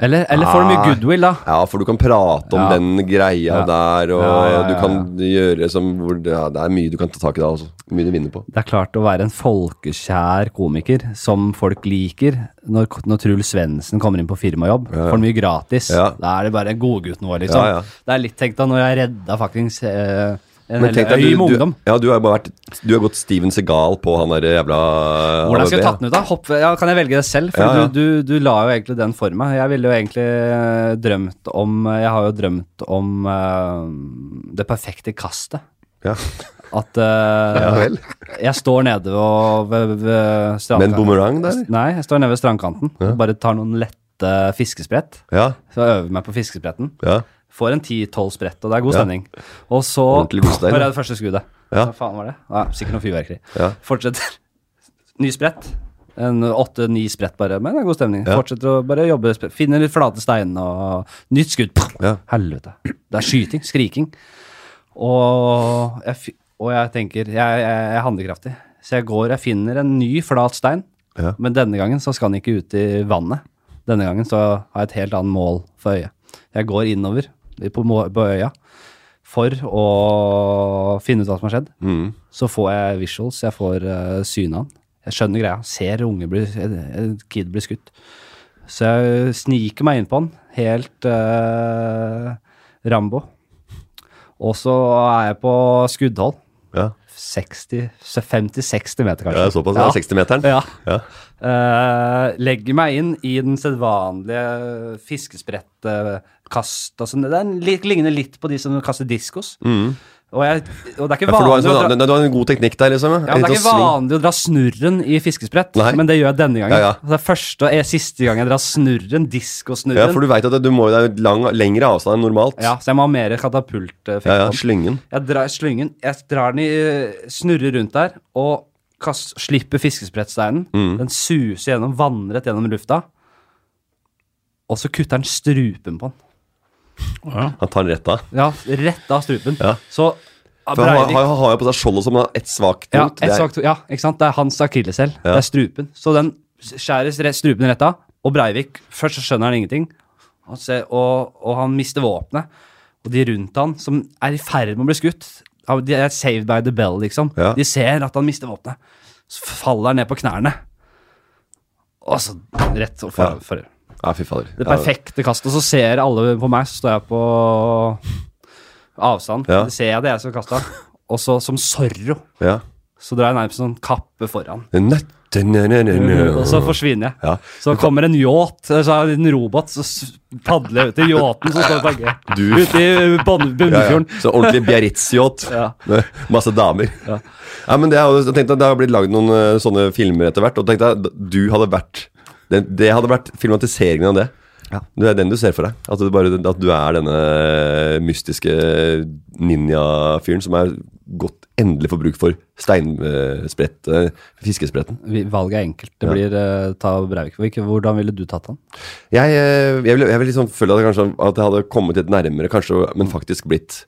Eller, eller får du mye
Nei.
goodwill, da?
Ja, for du kan prate om
Ja.
den greia
Ja.
der, og
Ja, ja, ja,
du kan gjøre som hvor det, ja, det er mye du kan ta tak i da, altså. Mye du vinner på.
Det er klart å være en folkekjær komiker som folk liker. Når, når Truls Svendsen kommer inn på firmajobb, får mye gratis.
Ja.
Da er det bare en godgutten vår, liksom.
Ja, ja.
Det er litt tenkt da når jeg redda fuckings eh, en
Men
hel
tenk deg,
øy med
du,
ungdom.
du, ja, du har jo bare vært Du har gått Steven Segal på han der jævla
Hvordan skal jeg
ABB,
tatt den ut, da? Hopp, ja, kan jeg velge det selv? For
Ja, ja.
Du, du, du la jo egentlig den for meg. Jeg ville jo egentlig eh, drømt om eh, Jeg har jo drømt om eh, det perfekte kastet.
Ja.
At eh,
Ja vel.
jeg står nede og, ved, ved
Med en
strandkanten.
boomerang der?
Nei, jeg står nede ved strandkanten.
Ja.
Bare tar noen lette fiskesprett.
Ja.
Så jeg øver meg på fiskespretten.
ja.
Får en 10-12 sprett, og det er god
Ja.
stemning. Og så
Ordentlig god stein,
Hvor
da.
er det første skuddet?
Ja.
Hva faen var det? Nei, sikkert noe fyrverkeri.
Ja.
Fortsetter. *laughs* Ny sprett. En åtte-ni sprett bare, men det er god stemning.
Ja.
Fortsetter å bare jobbe. sp- Finner litt flate steiner og nytt skudd.
Ja.
Helvete. Det er skyting. Skriking. Og jeg, fi- og jeg tenker jeg, jeg, jeg er handlekraftig. Så jeg går jeg finner en ny flat stein,
Ja.
men denne gangen så skal den ikke ut i vannet. Denne gangen så har jeg et helt annet mål for øyet. Jeg går innover i- på, må- på øya for å finne ut hva som har skjedd.
Mm.
Så får jeg visuals, jeg får uh, synet av han. Jeg skjønner greia. Ser unge bli, en- en kid bli skutt. Så jeg sniker meg inn på han, helt eh, Rambo. Og så er jeg på skuddhold.
ja.
60, 50-60 meter, kanskje.
ja såpass. Ja. 60-meteren.
Ja.
Ja.
Eh, legger meg inn i den sedvanlige fiskesprettkast. Altså, den li- ligner litt på de som kaster diskos. Og, jeg, og det er ikke
Mm. Ja, for du har, en
vanlig å
sånn,
dra
nei, du har en god teknikk der,
ja,
liksom.
men Det er
Litt
ikke
sånn sving.
vanlig å dra snurren i fiskesprett,
Nei.
men det gjør jeg denne gangen.
Ja, ja.
Det er første og eh, siste gang jeg drar snurren,
ja,
diskosnurren.
for du veit at du må jo Det er jo lang, lengre avstand enn normalt.
Ja, så jeg må ha mer katapulteffekt.
ja, ja
på den.
Slyngen.
Jeg drar slyngen, jeg drar den i eh, snurrer rundt der, og kast, slipper fiskesprettsteinen.
Mm.
Den suser gjennom, vannrett gjennom lufta. Og så kutter den strupen på den.
Han tar den rett av.
Ja, rett av strupen.
Ja.
Så ah,
For han har,
Breivik
har, har jo på seg skjoldet som har et svakt
ja,
punkt.
et
Det er-
svakt- ja, ikke sant? Det er hans akilleshæl.
Ja.
Det er strupen. Så den skjæres rett, strupen rett av, og Breivik Først så skjønner han ingenting, han ser, og, og han mister våpenet. Og de rundt han, som er i ferd med å bli skutt han- De er saved by the bell, liksom.
Ja.
De ser at han mister våpenet. Så faller han ned på knærne. Og så rett og for,
Ja.
for
Ja, fy fader.
det perfekte kastet. Og så ser alle på meg, så står jeg på avstand.
Ja.
Det ser jeg det er jeg som kasta. Og så som Zorro
Ja. ja.
så drar jeg nærmest sånn kappe foran.
Nøtte, nø, nø, nø, nø.
Og så forsvinner jeg.
Ja.
Så kommer en yacht, så er det en robot, så s- padler jeg ut til yachten som står på G.
*laughs* Du-
Ute i Bonn-
Ja, ja.
Bunnefjorden.
Så ordentlig Biarritz-yacht.
*laughs* Ja.
Med Masse damer. Ja. men det, er jo- jeg tenkte at det har blitt lagd noen eh, sånne filmer etter hvert, og tenkte jeg at du hadde vært det, det hadde vært filmatiseringen av det. Det er den du ser for deg. At du, bare, at du er denne mystiske ninja-fyren som er godt endelig får bruk for steinsprett, eh, fiskespretten.
Vi- Valget er enkelt. Det blir eh, ta Breivik. Hvilke- Hvordan ville du tatt han?
Jeg, eh, jeg vil, jeg vil liksom føle at jeg, kanskje, at jeg hadde kommet litt nærmere, kanskje, men faktisk blitt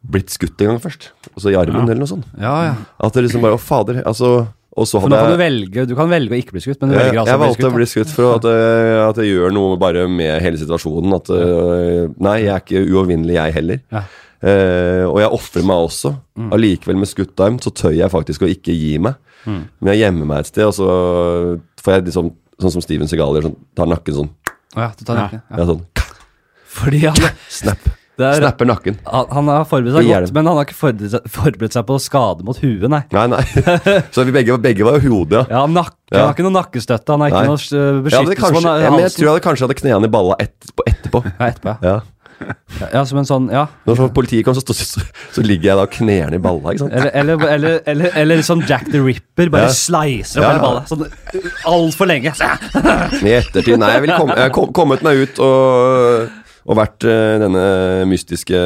blitt skutt en gang først. Altså i armen eller noe sånt.
Ja, ja.
At det liksom bare Å, fader. Altså Og så
For nå kan
hadde
du
jeg
velge Du kan velge å ikke bli skutt, men du
jeg,
velger altså å
jeg
bli
valgte å
skutt.
bli skutt for at, eh, at jeg gjør noe bare med hele situasjonen. At eh, nei, jeg er ikke uovervinnelig, jeg heller.
Ja. Mm.
Eh, og jeg ofrer meg også. Allikevel, med skutt arm, så tør jeg faktisk å ikke gi meg.
Mm.
Men jeg gjemmer meg et sted, og så får jeg liksom Sånn som Steven Segal gjør, sånn, tar nakken sånn.
da. Ja, du tar nakken, ja.
Ja, sånn
Fordi han,
snap.
det er,
Snapper nakken.
han, han har forberedt seg
I
godt,
hjelm.
men han har ikke forberedt seg, forberedt seg på skade mot huet, nei.
Nei,
*laughs*
nei. Så vi begge, begge var jo hodet, ja.
Ja, nakke, Han
Ja.
har ikke noe nakkestøtte, han har ikke
Nei.
noe eh,
Ja, men, det
beskyttelse
kanskje,
på
ja, men jeg tror jeg hadde kanskje hadde knærne i balla etterpå. etterpå.
Ja, etterpå, ja.
Ja.
ja. Som en sånn, ja.
Når så politiet kom, så, stod- så, så ligger jeg da og knærne i balla. ikke sant?
Eller, eller, eller, eller, eller som Jack the Ripper, bare
Ja.
sleiser opp
Ja,
hele
ja.
ballet. Sånn altfor lenge.
I ettertid. Nei, jeg ville kom, jeg kom, kommet meg ut og, og vært eh, denne mystiske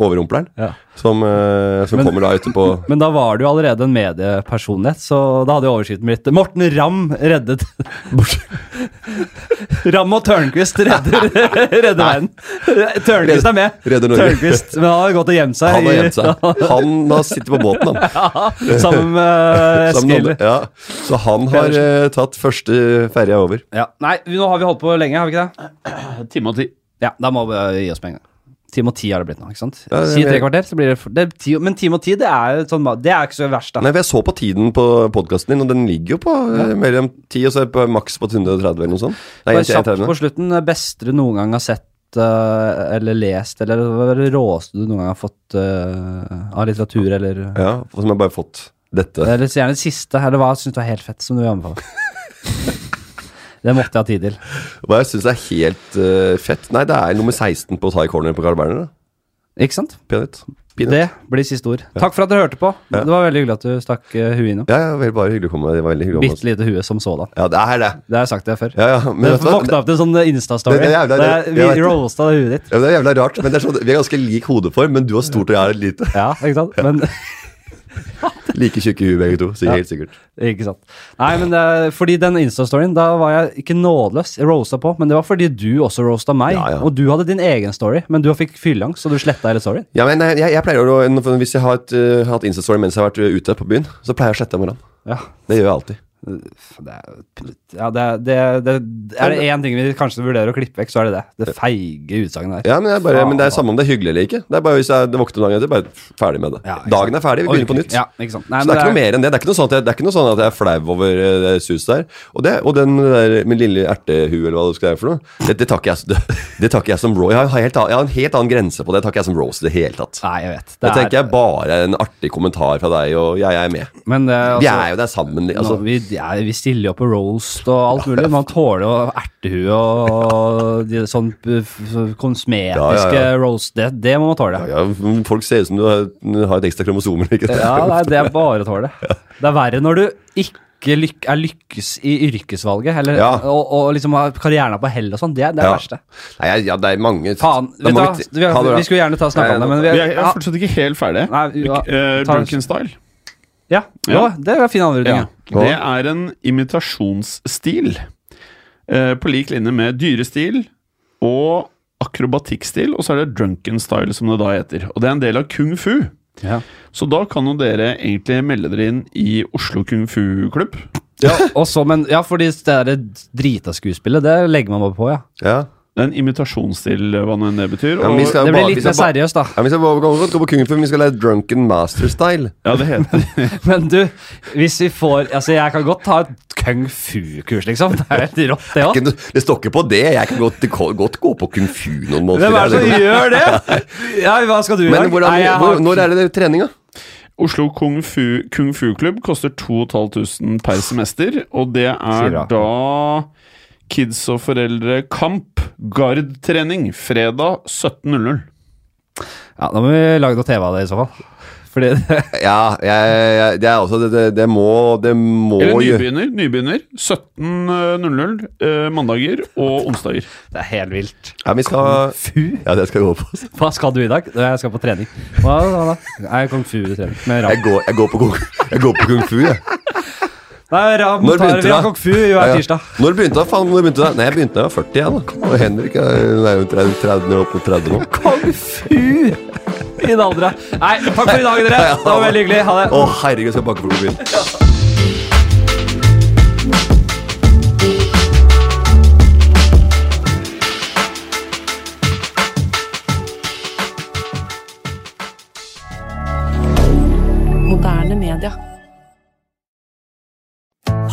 overrumpleren.
Ja.
Som, eh, som kommer da ute på
Men da var du jo allerede en mediepersonlighet, så da hadde jo overskriften blitt Morten Ramm reddet *laughs* Ramm og Tørnquist redder, redder verden. Tørnquist er med.
Redder Norge.
Tørnquist, Men han har gått og gjemt seg,
Han har
*laughs*
gjemt seg. Han har sittet på båten, han.
I, sammen med
Sammen med
Eskil.
andre. Ja. Så han har eh, tatt første ferja over.
Ja. Nei, nå har vi holdt på lenge, har vi ikke det?
Time og ti.
Ja, da må vi eh, gi oss med en gang. Time og ti har det blitt nå, ikke sant?
Ja, det-
si tre kvarter, så blir det, for, det er ti, Men time og ti, det er jo sånn Det er ikke så verst, da.
Nei, for jeg så på tiden på podkasten din, og den ligger jo på eh, mellom 10 og så er det på maks på 130 eller noe sånt. Nei,
Bare kjapt
130.
på slutten. Beste du noen gang har sett eh, eller lest, eller hva er det råeste du noen gang har fått eh, av litteratur, eller
Ja, og som jeg bare fått dette.
Eller så gjerne det siste, eller hva syns du er helt fett, som du vil
*laughs*
anbefale? det måtte jeg ha tid til.
Hva jeg syns er helt eh, fett Nei, det er nummer 16 på Thai Corner på Carl Berner. da.
Ikke sant?
Peanut. Peanut.
Det blir siste ord. Takk for at dere hørte på. Det var veldig hyggelig at du stakk eh, huet innom.
Ja, ja, vel, bare hyggelig å komme. Det var veldig hyggelig å komme.
Bitte lite hue som sådan.
Ja, det er det.
Det har jeg sagt til deg før.
Ja, ja, men
det
vet du hva?
våkna opp til en sånn Insta-story.
Det- det er jævla-
der
det- jeg
Vi
vet det.
roasta huet ditt.
Ja, det er jævla rart, men det er sånn, vi er ganske lik hodeform, men du har stort og jeg har et lite.
Ja, ikke sant? Men, *laughs*
Like tjukke huer begge to, sier helt sikkert.
ikke sant? Nei, men det er, fordi den Insta-storyen, da var jeg ikke nådeløs. Jeg roasta på, men det var fordi du også roasta meg.
Ja, ja.
Og du hadde din egen story, men du fikk fylleangst, så du sletta hele storyen.
Ja, men eh, jeg, jeg, jeg pleier å, Hvis jeg har et, eh, hatt Insta-story mens jeg har vært eh, ute på byen, så pleier jeg å slette om morgenen.
Ja,
Det gjør jeg alltid.
det er, ja, det er, det er, det er det én ting vi kanskje vurderer å klippe vekk, så er det det. Det feige utsagnet der.
Ja, men det er, bare,
Faen,
men det er
da.
samme om det er hyggelig eller ikke. Det er bare Hvis jeg våkner dagen etter, bare ferdig med det.
Ja, ikke
dagen er ferdig, vi begynner på
Orker
nytt.
ikke. Ja, ikke sant? Nei,
Så
men
det er ikke noe mer enn det. Det er ikke noe sånn at jeg, det er ikke noe sånn at jeg er flau over eh, det suset der. Og, det, og den der med lille ertehue eller hva det skal være for noe, det, det, tar ikke jeg, s- *laughs* det, det tar ikke jeg som raw. Jeg har, en helt, annen- jeg har en helt annen grense på det. Det tar ikke jeg som raws i det hele tatt.
Nei, jeg vet.
Det tenker
er,
jeg bare er en artig kommentar fra deg, og jeg, er med.
men det, er
Vi
altså-
er jo der sammen. Altså.
Nå, vi, ja, vi stiller jo opp på roast og alt mulig. Man tåler jo ertehue og de, sånn p- f- kosmetiske
Ja, ja,
roast. Det, det må man tåle. Ja,
Ja, folk ser ut som du har, har et ekstra kromosom eller ikke.
nei, det er bare å tåle. Det er verre når du ikke lyk, er lykkes i yrkesvalget, eller,
Ja.
og, og liksom har karrieren er på hell og sånn. Det, er- det er det
Ja.
verste.
*laughs* Nei, ja, det er mange
Faen.
det er
Vet du hva,
mange-
vi,
Ha det bra.
vi skulle gjerne ta og
Nei,
snakke om det, men vi,
Vi er, jeg
ja,
er fortsatt ikke helt ferdig.
Nei, vi- ja,
Eh,
ta-
Drunken style.
ja, jo, det var en fin anrunding. Ja.
Det er en imitasjonsstil. eh, på lik linje med dyrestil og akrobatikkstil, og så er det drunken style, som det da heter. Og det er en del av kung fu.
Ja.
Så da kan jo dere egentlig melde dere inn i Oslo kung fu-klubb.
Ja, og så, men, ja, fordi det der drita skuespillet, det legger man bare på, ja.
Ja.
Det er en imitasjonsstil, hva nå enn det betyr.
Ja, men
Og,
vi skal-
Det
bare-
blir
liksom vi
litt
skal
mer
bare-
seriøst, da.
Ja, vi skal gå, gå, gå på Kung Fu, men vi skal lære drunken master-style.
ja, det heter *laughs*
Men du, hvis vi får Altså, jeg kan godt ta et kung fu-kurs, liksom. Det er helt rått, det òg.
Ikke- Det står ikke på det. Jeg kan godt, godt gå på Kung Fu noen måneder.
Hvem er det som gjør det? Ja, hva skal du i
Men
dag?
hvordan,
Nei, jeg
hvor,
har-
når er det treninga?
Oslo kung fu, kung fu klubb koster 2500 per semester, og det
Sier
er
det.
da kids og foreldre kamp, gardtrening, fredag 17.00.
Ja, da må vi lage noe TV av det, i så fall. Fordi det,
Ja, jeg, jeg, det er også det, det, det må Det må
Eller
gjø-
nybegynner. nybegynner 17.00 eh, mandager og onsdager.
det er helt vilt.
ja, vi skal,
Fu?
ja, det skal jeg gå på.
Hva skal du i dag? Jeg skal på trening. Hva hva da? Nei, kung fu-trening. Med
Jeg
Ram.
går, jeg går, på, kung, jeg går på Kung Fu, jeg.
Nei, Ram tar
Når begynte
vi har
det?
kung fu hver tirsdag.
Når begynte jeg? Faen, når begynte jeg? Nei, jeg begynte da jeg var 40, jeg, da. Og Henrik er, er jo 30, 30, nå, på 30 nå.
Kung fu! I den aldra. Nei, takk for i dag,
*laughs*
dere. Det var veldig hyggelig. Ha det.
Å, herregud, skal jeg banke på mobilen.
Moderne media.